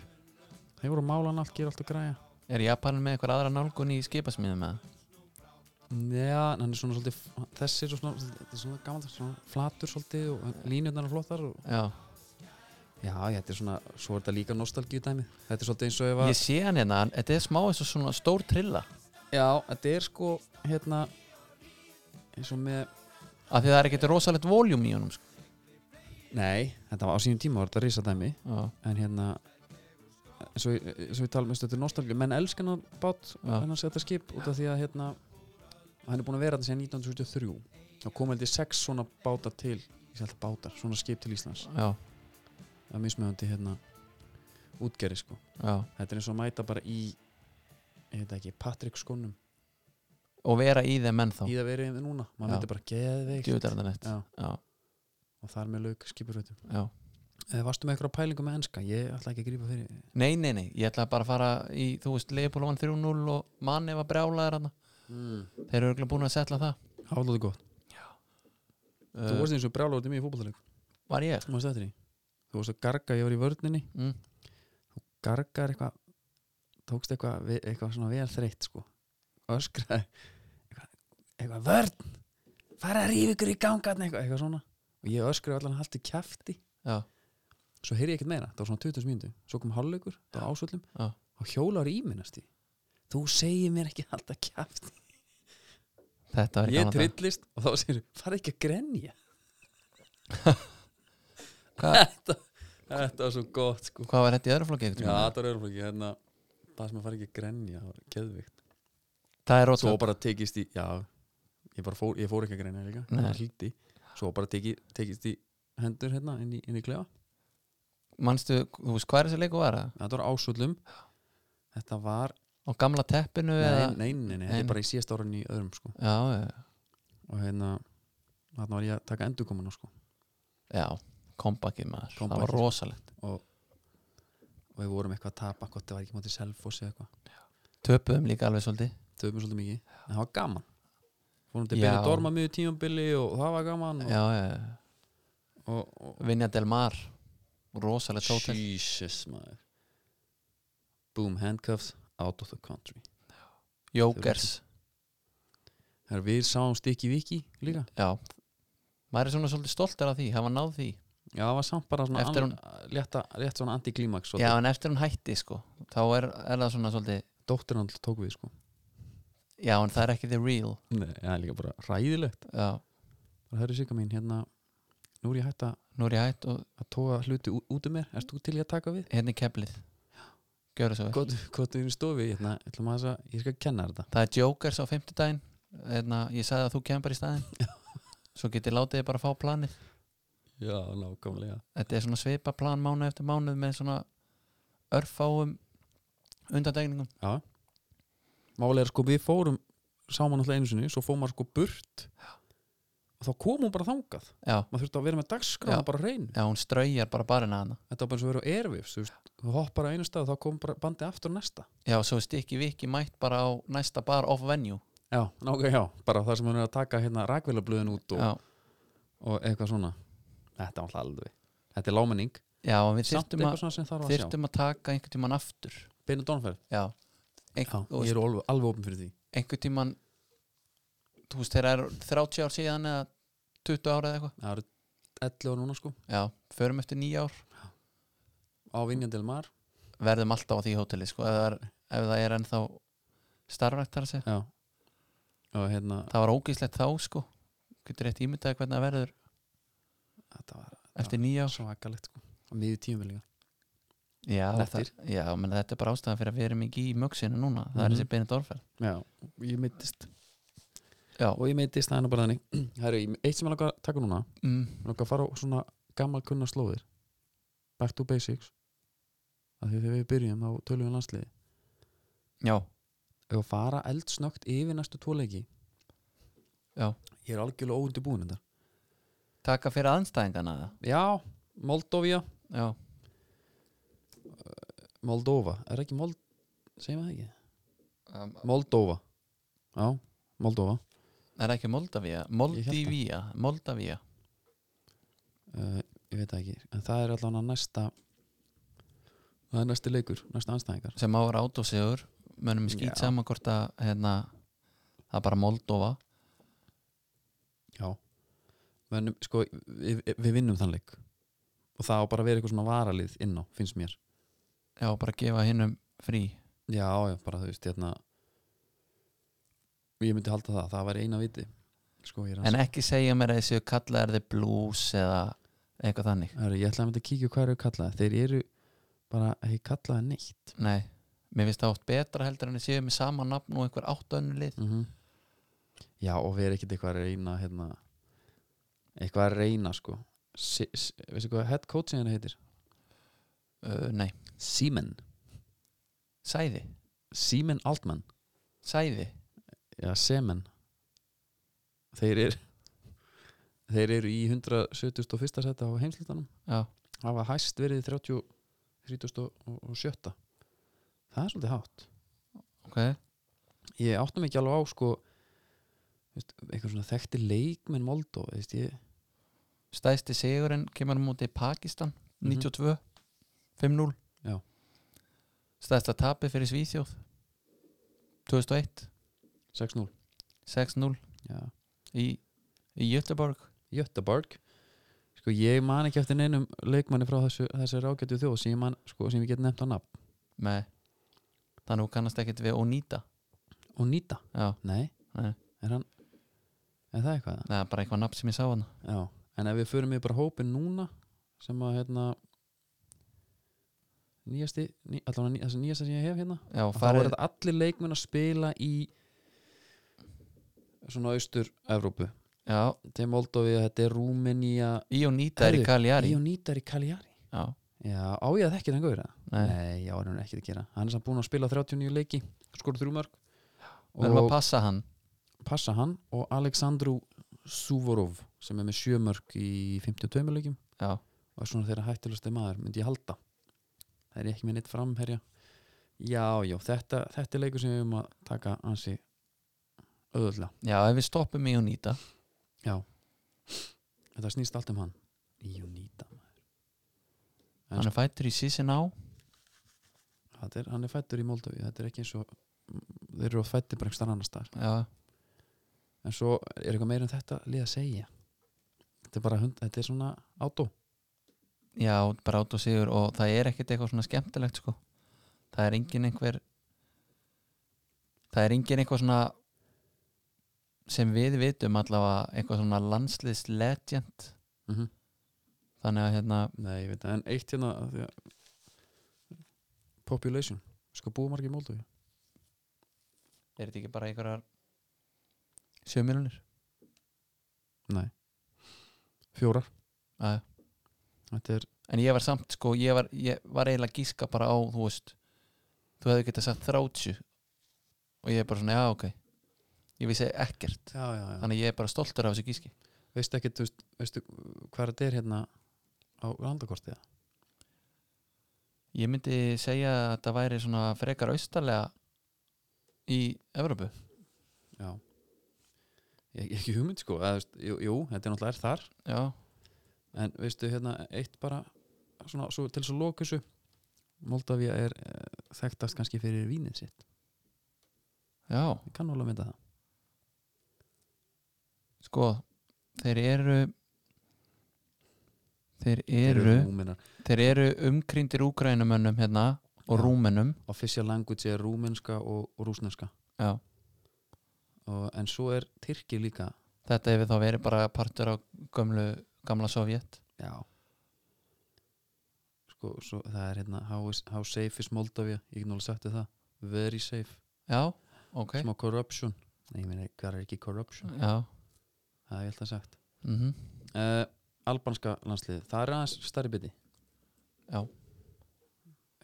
þeir voru málan allt, gera allt og græja
er Japanin með einhver aðra nálgun í skipasmíðum með
Já, hann er svona svolítið þessi er svona, þetta er svona gaman svona flatur svolítið og línutnar er flottar og
já,
Já, þetta er svona, svo er þetta líka nostalgíu dæmi Þetta er svolítið eins og ef að
ég sé hann hérna hann- þetta er smá eins og svona stór trilla
Já, þetta er sko, hérna eins og með
af því það er ekkert rosalegt voljum í honum sko.
Nei, þetta var á sínum tíma var þetta risa dæmi
já,
en hérna eins og, eins og ég tala um þetta er nostalgíu menn elskan hann bát,
Já.
hann setja skip út af því að hérna hann er búin að vera þetta síðan 1973 og kom held ég sex svona bátar til ég sé alltaf bátar, svona skip til Íslands
já,
að mismöðandi hérna útgerri sko
já
þetta er eins og að mæta bara í ég veit ekki, Patrick skónum
og vera í þeim ennþá
í það verið við núna, maður
Já.
myndi bara geðveikt
djúðarðanett
Já,
já,
og þar með lauk skipurveitum
já
eða Eh, varstu með eitthvað pælingu með enska, ég ætla ekki að grípa fyrir
Nei, nei, nei, ég ætlaði bara að fara í, þú veist, Leopold vann 3-0 og manni var brjálaðir hann
mm.
Þeir eru örugglega búin að setla það
hálóðu gott, þú
uh,
varst eins og brjálóður til mig í fótbollaleik,
Var ég?
þú varst eftir því þú varst að garga, ég var í vörninni
Mm.
gargar eitthvað tókst eitthvað, við- eitthvað svona vel þreytt sko öskraði eitthvað, eitthvað vörn fara að rífa ykkur í gangarn eitthvað, eitthvað svona og ég öskraði allan haldi kjafti
Já,
svo heyri ég ekkert meira, það var svona 20 mínútu svo kom hálfleikur, það var ásvöllum
Já.
og hjólar í minnast í þú segir mér ekki halda kjafti
þetta var í
ég
gamla daga.
trillist og þá segir fara ekki að grenja
Hvað-
þetta, þetta var svo gott sko
Hvað var þetta í öðru flokki? einhvern
Já,
tímann?
þetta er örflóki hérna, það sem að fara ekki að grenja það var geðvikt
Það er
Svo
rótlega
bara tekist í, já ég, bara fór, ég fór ekki að grenja líka
Nei.
það var hlýtt í. Svo bara teki, tekist í hendur hérna inn í, inn í klefa
Manstu, þú veist, hvað er þessi leiku var það?
Þetta var ásvöllum Þetta var,
Á gamla teppinu eða
nei, nei, nei, nei, þetta
Nei.
er bara í síðast árun í öðrum sko
Já, já,
og hérna þarna var ég að taka endurkomuna sko
já, kompakið maður Það var
Comebackið.
rosalegt
og, og við vorum eitthvað að tapa hvort það var ekki mótið selfossi eða eitthvað
Töpuðum líka alveg svolítið
töfum svolítið mikið, en það var gaman fórum til
Já.
Benny Dorma miður tímabili og það var gaman og,
Já, já, já
og, og,
Vinja Del Mar Rosalegt
og
hótel
Jesus maður Boom handcuffs out of the country
Jókers
Her, við sáum stikki viki líka
Já Maður er svona svolítið stoltar af því, hafa náð því
já það var samt bara svona
Eftir
an, létta, létt svona anti-klímaks
Já, en eftir hún hætti, sko Þá er, er það svona svolítið
dóttir hann tók við sko
Já, en það er ekki the real
Nei, það er líka bara ræðilegt
Já,
bara það eru sigga mín hérna, nú er ég hætt að,
nú er ég hætt og
að tóa hluti ú- út um mér erst þú til ég að taka við?
hérna er keplið Gjörðu svo vel
Kvotu þínu stofi, hérna, ætlum að þess að ég skal kenna þér þetta
Það er Jokers á fimmtudaginn Þeirna, Ég sagði að þú kemur bara í staðinn Svo get ég látið þið bara að fá planið
Já, nákvæmlega
Þetta er svona svipa plan mánu eftir mánuð með svona örfáum undandegningum
Já Málega er sko við fórum saman alltaf einu sinni, svo fórum maður sko burt og þá kom hún bara þangað
Já,
maður þurfti að vera með dagskrána
Já.
bara á hreinu
já hún straujar bara barina hana
þetta var bara eins og verið á erfifs þú, veist, þú hoppar á einu stað og þá kom bara bandið aftur á næsta
Já, svo er stikki viki mætt bara á næsta bar off venue
já, nákvæm, já, bara það sem hún er að taka hérna rakvélablöðin út og,
Já,
og eitthvað svona þetta var alltaf aldrei, þetta er lámenning
já og við
samt
þyrftum
eitthvað
að,
svona sem þarf að sjá
þyrftum að taka einhvern tíman aftur
beinu dónferð,
Já,
já,
einhvern,
ég er alveg, alveg opin fyrir því
einhvern tíman Þú veist, þeirra er 30 ár síðan eða 20 ára eða eitthvað
það eru 11 og núna sko,
Já, förum eftir nýja ár
á Vinjandil Mar
verðum alltaf á því hóteli sko, ef, það er, ef það er ennþá starfrækt þar að segja
já, og hérna
það var ógíslegt þá sko getur rétt ímyndaði hvernig það verður
þetta var
eftir nýja ár
svakalegt sko á miðju tíum líka
já,
Nettir.
það, já menn, þetta er bara ástæðan fyrir að við erum ekki í mögsinu núna það er
Mhm.
þessi beinit orðferð
já, ég meittist
já,
og ég meittist það er nú bara þannig Heru, eitt sem ég langar að taka núna
mm,
Mig langar að fara á svona gammal kunna slóðir back to basics af því þegar við um byrjum á tölvum landsliði
já,
ef að fara eldsnögt yfir næstu tóleiki
Já.
ég er algjörlega óundibúin þetta
taka fyrir aðanstæðingana það
já, Moldovia
já,
Moldova, er það ekki Mold segjum við það ekki,
um,
Moldova já, Moldova
er það ekki Moldavia Moldavia, Moldavia
uh, ég veit það ekki, en það er allan að næsta það er næsti leikur, næsta anstæðingar
sem áver átósigur mönnum
Já.
skýt saman hvort að hérna, það er bara Moldova
já Menum, sko, við, við vinnum þann leik og það á bara að vera eitthvað svona varalið inn á, finnst mér
já, bara gefa hinnum frí
já, já, bara þú veist, hérna ég myndi halda það, það væri eina viti sko, ég er
En
að
ekki segja mér að þessu kallaðar þið blues eða eitthvað þannig
Heru, ég ætla að mynda að kíkja hvað eru kallaði þeir eru bara ekki kallaði neitt
Nei, mér finnst það oft betra heldur en að séu með sama nafn og einhver átt önnu lið
mm já, og við erum ekkert eitthvað að reyna hérna, eitthvað að reyna sko si, si, veistu hvað head coaching henni heitir
uh, Nei,
Siemen
sæði,
Siemen Altman
sæði
Já, Semen Þeir eru Þeir eru í 171. seti á heimslutanum
Já,
hafa hæst verið í 30 37 Það er svolítið hátt
ok
Ég áttum ekki alveg á sko veist, einhver svona þekkti leikmenn Moldó veist, ég,
Stæsti sigurinn kemur á móti Pakistan
Mhm.
92, 5-0
Já.
Stæsta tapið fyrir Svíþjóð 2001,
6-0
6-0
Já.
í, í Göteborg
Jötaborg Sko ég man ekki eftir neinum leikmanni frá þessu, þessu rágættu þjóð sem ég man sko sem ég get nefnt á nafn
með þannig hún kannast ekkert við Oníta
og nýta
Já,
Nei,
Nei.
er hann Er það eitthvað?
það er bara eitthvað nafn sem ég sá hana
Já, en ef við förum við bara hópin núna sem að hérna nýjasti, ný, allan þessi nýjasta sem ég hef hérna
Já,
þá
farið-
er þetta allir leikmenn að spila í svona austur Evrópu
Já,
til Moldófi, þetta er Rúmenía
Ionita er í
Herðu,
Kaljari
Ionita er í Kaljari
Já,
Já, á ég að þekki þann gauður
nei,
Nei, já, hann er ekki að gera Hann er samt búin að spila 39 leiki, skora þrjú mörg
við erum að passa hann
passa hann og Aleksandru Suvorov sem er með sjömörk í 52 leikjum
Já,
og er svona þeirra hættilusti maður, myndi ég halda það er ekki með neitt framherja já, já, þetta, þetta er leikur sem við um að taka ansi öðvöldlega,
já ef við stoppum í Ionita
þetta snýst allt um hann Ionita maður En
Hann er fættur í Sissiná
Þetta er, hann er fættur í Moldaví, þetta er ekki eins og þeir eru fættir bara einhverstað annars staðar
Já,
en svo er eitthvað meira en þetta lið að segja þetta er bara hund, þetta er svona átó
já, bara át og sigur og það er ekkert eitthvað svona skemmtilegt sko Það er engin einhver Það er engin eitthvað svona sem við vitum allavega eitthvað svona landsliðslegend
mm -hmm.
þannig að hérna
Nei, ég veit það, en eitt hérna af því að Population, sko búið margir í Moldói
er þetta ekki bara einhverjar 7 miljonir
Nei Fjórar
aðja
Þetta er,
en ég var samt sko, ég var, ég var eiginlega að gíska bara á, þú veist þú hefði getað sagt 30 og ég er bara svona, já ok ég vissi ekkert,
já, já, já
þannig að ég er bara stoltur af þessu gíski
Veistu ekki, þú veist, veistu hvað þetta er hérna á landakortið
ég myndi segja að það væri svona frekar austarlega í Evrópu
Já Ég ég ekki hugmynd sko, eða, þú veist, jú, jú, þetta er náttúrulega er þar
já,
En veistu, hérna, eitt bara svona, svo, til þess að loka þessu Moldavia er eh, þekktast kannski fyrir vínið sitt
já,
Ég kann alveg mynda það
sko þeir eru þeir eru
Rúmenar
þeir eru umkrindir úgrænumönnum hérna og
Já.
rúmennum
Official language er rúmenska og, og rúsneska
já,
og, En svo er Tyrki líka
þetta hefur þá verið bara partur á gömlu, gamla sovjet
Já Sko, svo, það er hérna How, is, how safe is Moldavia? Ég get náttúrulega sagt þér það Very safe
Já, ok Mm.
Smá corruption Nei, ég meina, hvað er ekki corruption?
Já,
Það er ég alltaf sagt
mm
uh, Albanska landsliðið, það er aðeins starri biti
Já.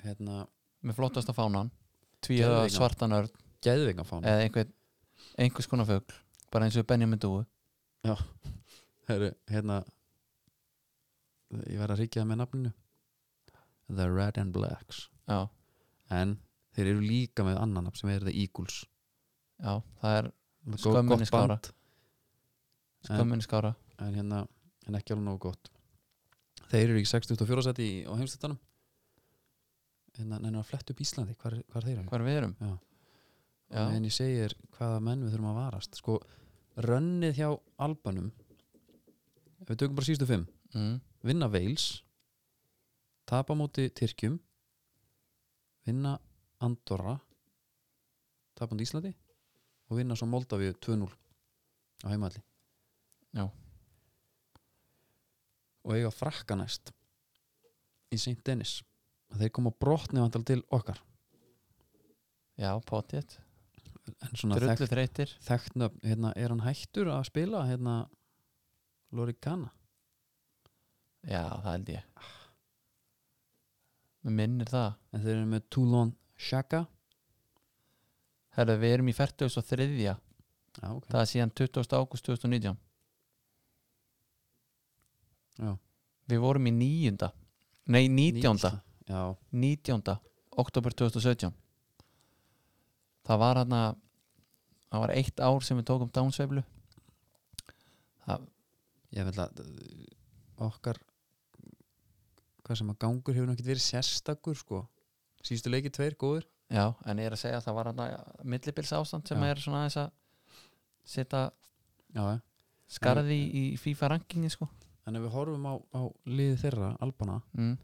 Hérna,
með flottasta fánan Tvíða
Geðveika.
svartan örn
geðvingafána
eða einhver, einhvers konar fugl bara eins og Benjamin Dúu
Heru, Hérna Ég verð að ríkja það með nafninu The Red and Blacks
Já,
En þeir eru líka með annan nafn sem er The Eagles
já, það er
Gó-
Skömminni
gott
skára.
band. En,
skömmin skára
en hérna en ekki alveg nógu gott Þeir eru í 64 seti í- á heimstættanum Hérna, nennir að fletta upp Íslandi Hvar, hvar þeir eru
Hvar við erum
Mm. Já.
Já,
En ég segir hvaða menn við þurfum að varast Sko, rönnið hjá Albanum Ef við tökum bara sístu fimm
mm,
Vinna Wales Tapa á móti Tyrkjum Vinna Andorra Tapa á móti Íslandi Og vinna svo Moldavíu 2-0 Á heimalli
Já.
Og eiga frakka næst Í St. Dennis Og þeir koma brotni vantal til okkar
já potið
En svona
Drullu
þekkt,
þreytir
þekkt nöfn hérna, Er hann hættur að spila hérna, Lorikana
Já, það held ég Mér minnir það
En þeir eru með Toulon Shaka
Herra, við erum í 43.
Já, ok
Það er síðan 20. ágúst 2019
Já.
Við vorum í níunda Nei, 19.
Nítjánda. Já,
19. oktober 2017 það var hann að það var eitt ár sem við tókum dánsveiflu það,
ég vil að uh, okkar hvað sem að gangur hefur nú ekkert verið sérstakur sko síðustu leiki tveir góður
já, en ég er að segja að það var hann að millibils ástand sem
Já.
er svona aðeins að setja
já, já.
skarði í, í FIFA rankingi sko
en ef við horfum á, á liði þeirra Albana
mm.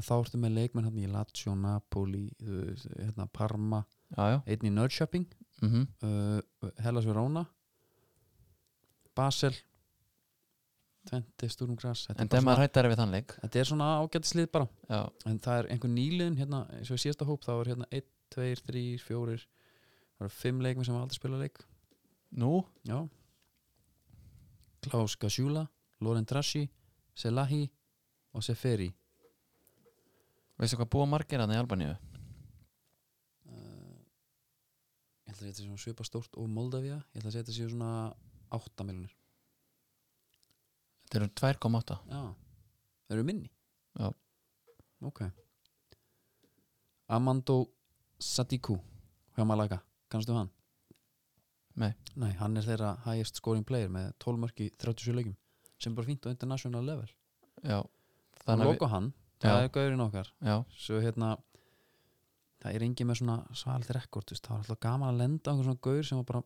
að þá ertu með leikmenn hérna í Lazio, Napoli þú veist, hérna, Parma,
já, já,
einn í Nördköping
mm
uh, Hellas Verona Basel Tvente, Stúrum Gras þetta, er bara
en þegar
svona-
maður hættar við þann leik
þetta er svona ágætislið bara
já,
en það er einhver nýliðin hérna, eins og í síðasta hóp þá er hérna 1, 2, 3, 4 það eru 5 leikmi sem hafa aldrei spila leik
nú,
já Klaus Gasjula, Loren Drashi Selahi og Seferi
veistu hvað búa margir hann í Albaníu
uh, ég ætla að þetta sé svona svipa stórt og Moldavia, ég ætla að þetta sé svona 8 miljonir
þetta eru 2,8
já, það eru minni
Já.
ok Amando Sadiku hjá Malaga, kannstu hann?
Nei.
Nei, hann er þeirra highest scoring player með 12 mörg í 37 leikum sem er bara fínt á international level
já,
þannig
þannig
að
að við
loka hann, það
Já.
er gaurinn okkar
já,
svo hérna það er engin með svona svalið rekord þú veist, það var alltaf gaman að lenda á einhver svona gaur sem var bara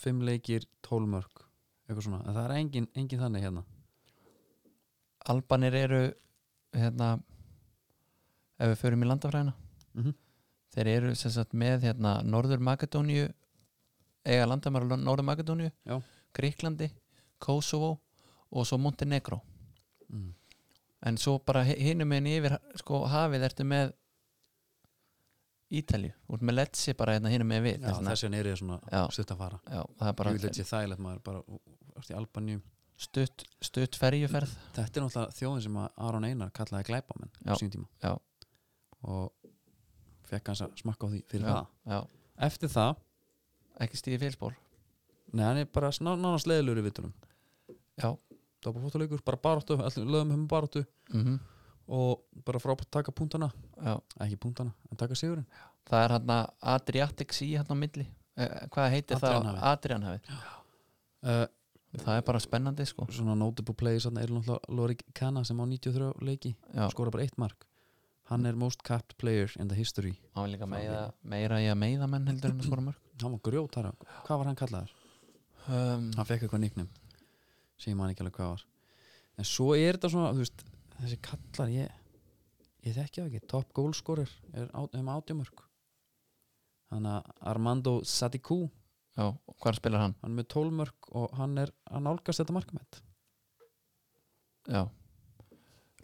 5 leikir 12 mörg, eitthvað svona en það er engin, engin þannig hérna
Albanir eru hérna ef við förum í landafræðina
Mhm.
þeir eru sem sagt með hérna Norður Makedóníu eiga landamæra Norður Makedóníu,
Já.
Gríklandi Kosovo og svo Montenegro
Mm.
en svo bara hinum einn yfir sko, hafið ertu með Ítalju, út með Letsi bara hérna hinum einn við
Já,
þess vegna-
þessi hann er ég svona
Já.
stutt að fara
já, það
Bara,
er bara
ég vil þetta sé þægilegt maður bara ú- ú- varst í Albaníu
stutt, stutt ferjuferð
Þetta er náttúrulega þjóðin sem að Aron Einar kallaði glæpamenn á
Já,
sínum tíma
já.
og fekk hans að smakka á því fyrir
já, já,
það Eftir það,
ekki stíði félspor
nei hann er bara sná- nánast leðilur í vitunum
já,
Það var bara fótuleikur, bara baráttu, allir lögum hefum um baráttu
mm
og bara frábært taka púntana
já
ekki púntana, en taka sigurinn
það er hann að Adriatic Sea hann á milli eh, hvað heitir
Adrianhafið.
það? Adrianhafið
uh,
það er bara spennandi sko
Svona notable players þarna er náttúrulega Lori Kana sem á 93 leiki
já,
skora bara eitt mark Hann er most capped player in the history
hann vil líka
Frá
meira,
liðinu.
meira í að meiða menn heldur en að skora mörg
Hann var grjótara, hvað var hann kallaður?
um,
hann fekk eitthvað nýknum sem ég man ekki alveg hvað var en svo er þetta svona, þú veist þessi kallar, ég ég þekki það ekki, top goalscorer er á, um átjumörk þannig að Armando Sadiku
já, og hvar spilar hann?
hann er með tólmörk og hann er að nálgast þetta markamett
já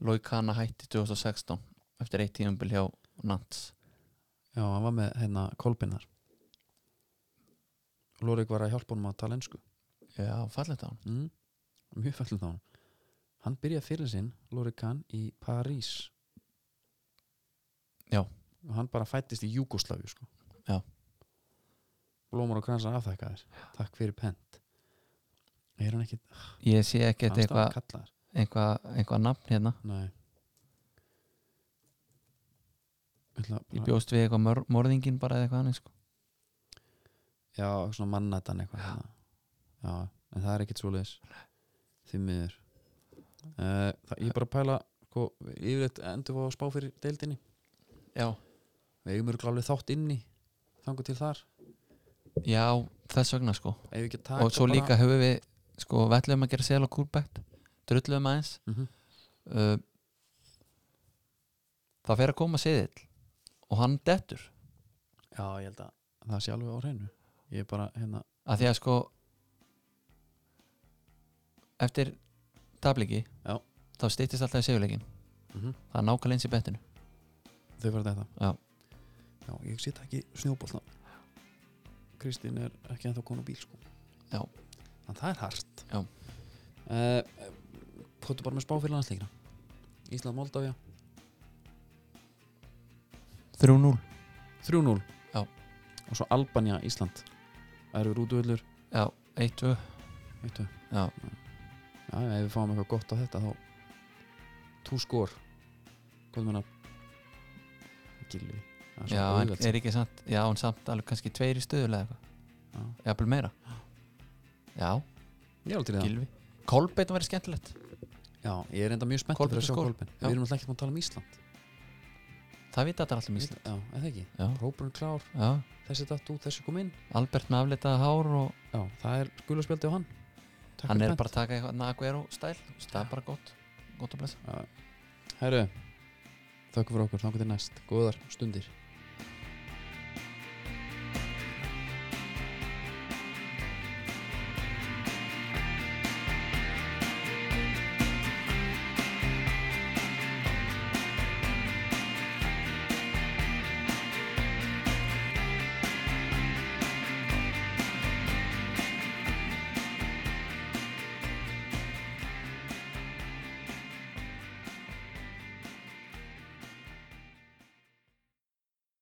Loikana hætti 2016 eftir eitt tíumbil hjá Nants
já, hann var með hérna kolbinar og Lórik var að hjálpa honum að tala ensku
já, fallið það hann
mm. mjög fallin þá hann byrjaði fyrir sinn, Lórik Kahn í París
Já.
og hann bara fættist í Júgoslavi sko.
Já.
blómur og kransar afþakkaðir takk fyrir pent er hann ekki
ég sé ekkert eitthvað
kallaðar
eitthva, eitthva nafn hérna
nei Ætla,
ég
bara,
bjóst við eitthvað mör, morðingin bara eða eitthvað annars sko.
já, svona mannættan eitthvað já. já, en það er ekkit svoleiðis því miður uh, það, ég er bara að pæla sko, yfirleitt endur við að spá fyrir deildinni
já.
Við eigum örgulega alveg þátt inni þangu til þar
já, þess vegna sko
Ef við ekki að taka
og svo
bara-
líka höfum við sko, vellum að gera sel og kúrbætt drulluðum aðeins
Mhm.
uh, það fer að koma seðill og hann dettur
Já, ég held að það sé alveg á hreinu Ég er bara, hérna,
að því að sko eftir tabliki
Já.
þá stýttist alltaf í seðuleikin
Mhm.
það er nákvæmlega eins í bettinu
þau verða þetta
Já.
Já, ég sitt ekki snjóbólna Kristín er ekki ennþá konu bíl sko
Já.
En það er hart
Já.
uh, Kottu bara með spá fyrir landsleikina Ísland, Moldavia
3-0
3-0
Já.
Og svo Albania, Ísland Erfur útvöldur
já, 1-2
Eittu.
já,
Já, ef við fáum eitthvað gott á þetta þá Tú skor Hvað meina Gilvi Það er
já
svo
en
auðvelt.
er ekki samt já, en samt alveg kannski tveir í stöðulega eitthvað
Já.
jafnvel meira já,
Ég er alveg til í það
gilvi Kolbeitt var skemmtilegt
Já, ég er enda mjög spennt
Kolbeinn
fyrir að sjá
skor.
Kolbin
Já.
Við erum alltaf ekki að tala um Ísland
það vita allir um Ísland
Já, eða ekki
já,
Rópurinn klár,
já,
þessi datt út, þessi kom inn
Albert með aflitaða hár og
Já, það er gulaspjaldi á hann Takk
hann
fyrir
er
pent.
bara að taka eitthvað Naguero stæl það er bara gott, gott að blessa
Já. Herru, þökkum fyrir okkur, þangar til næst Góðar stundir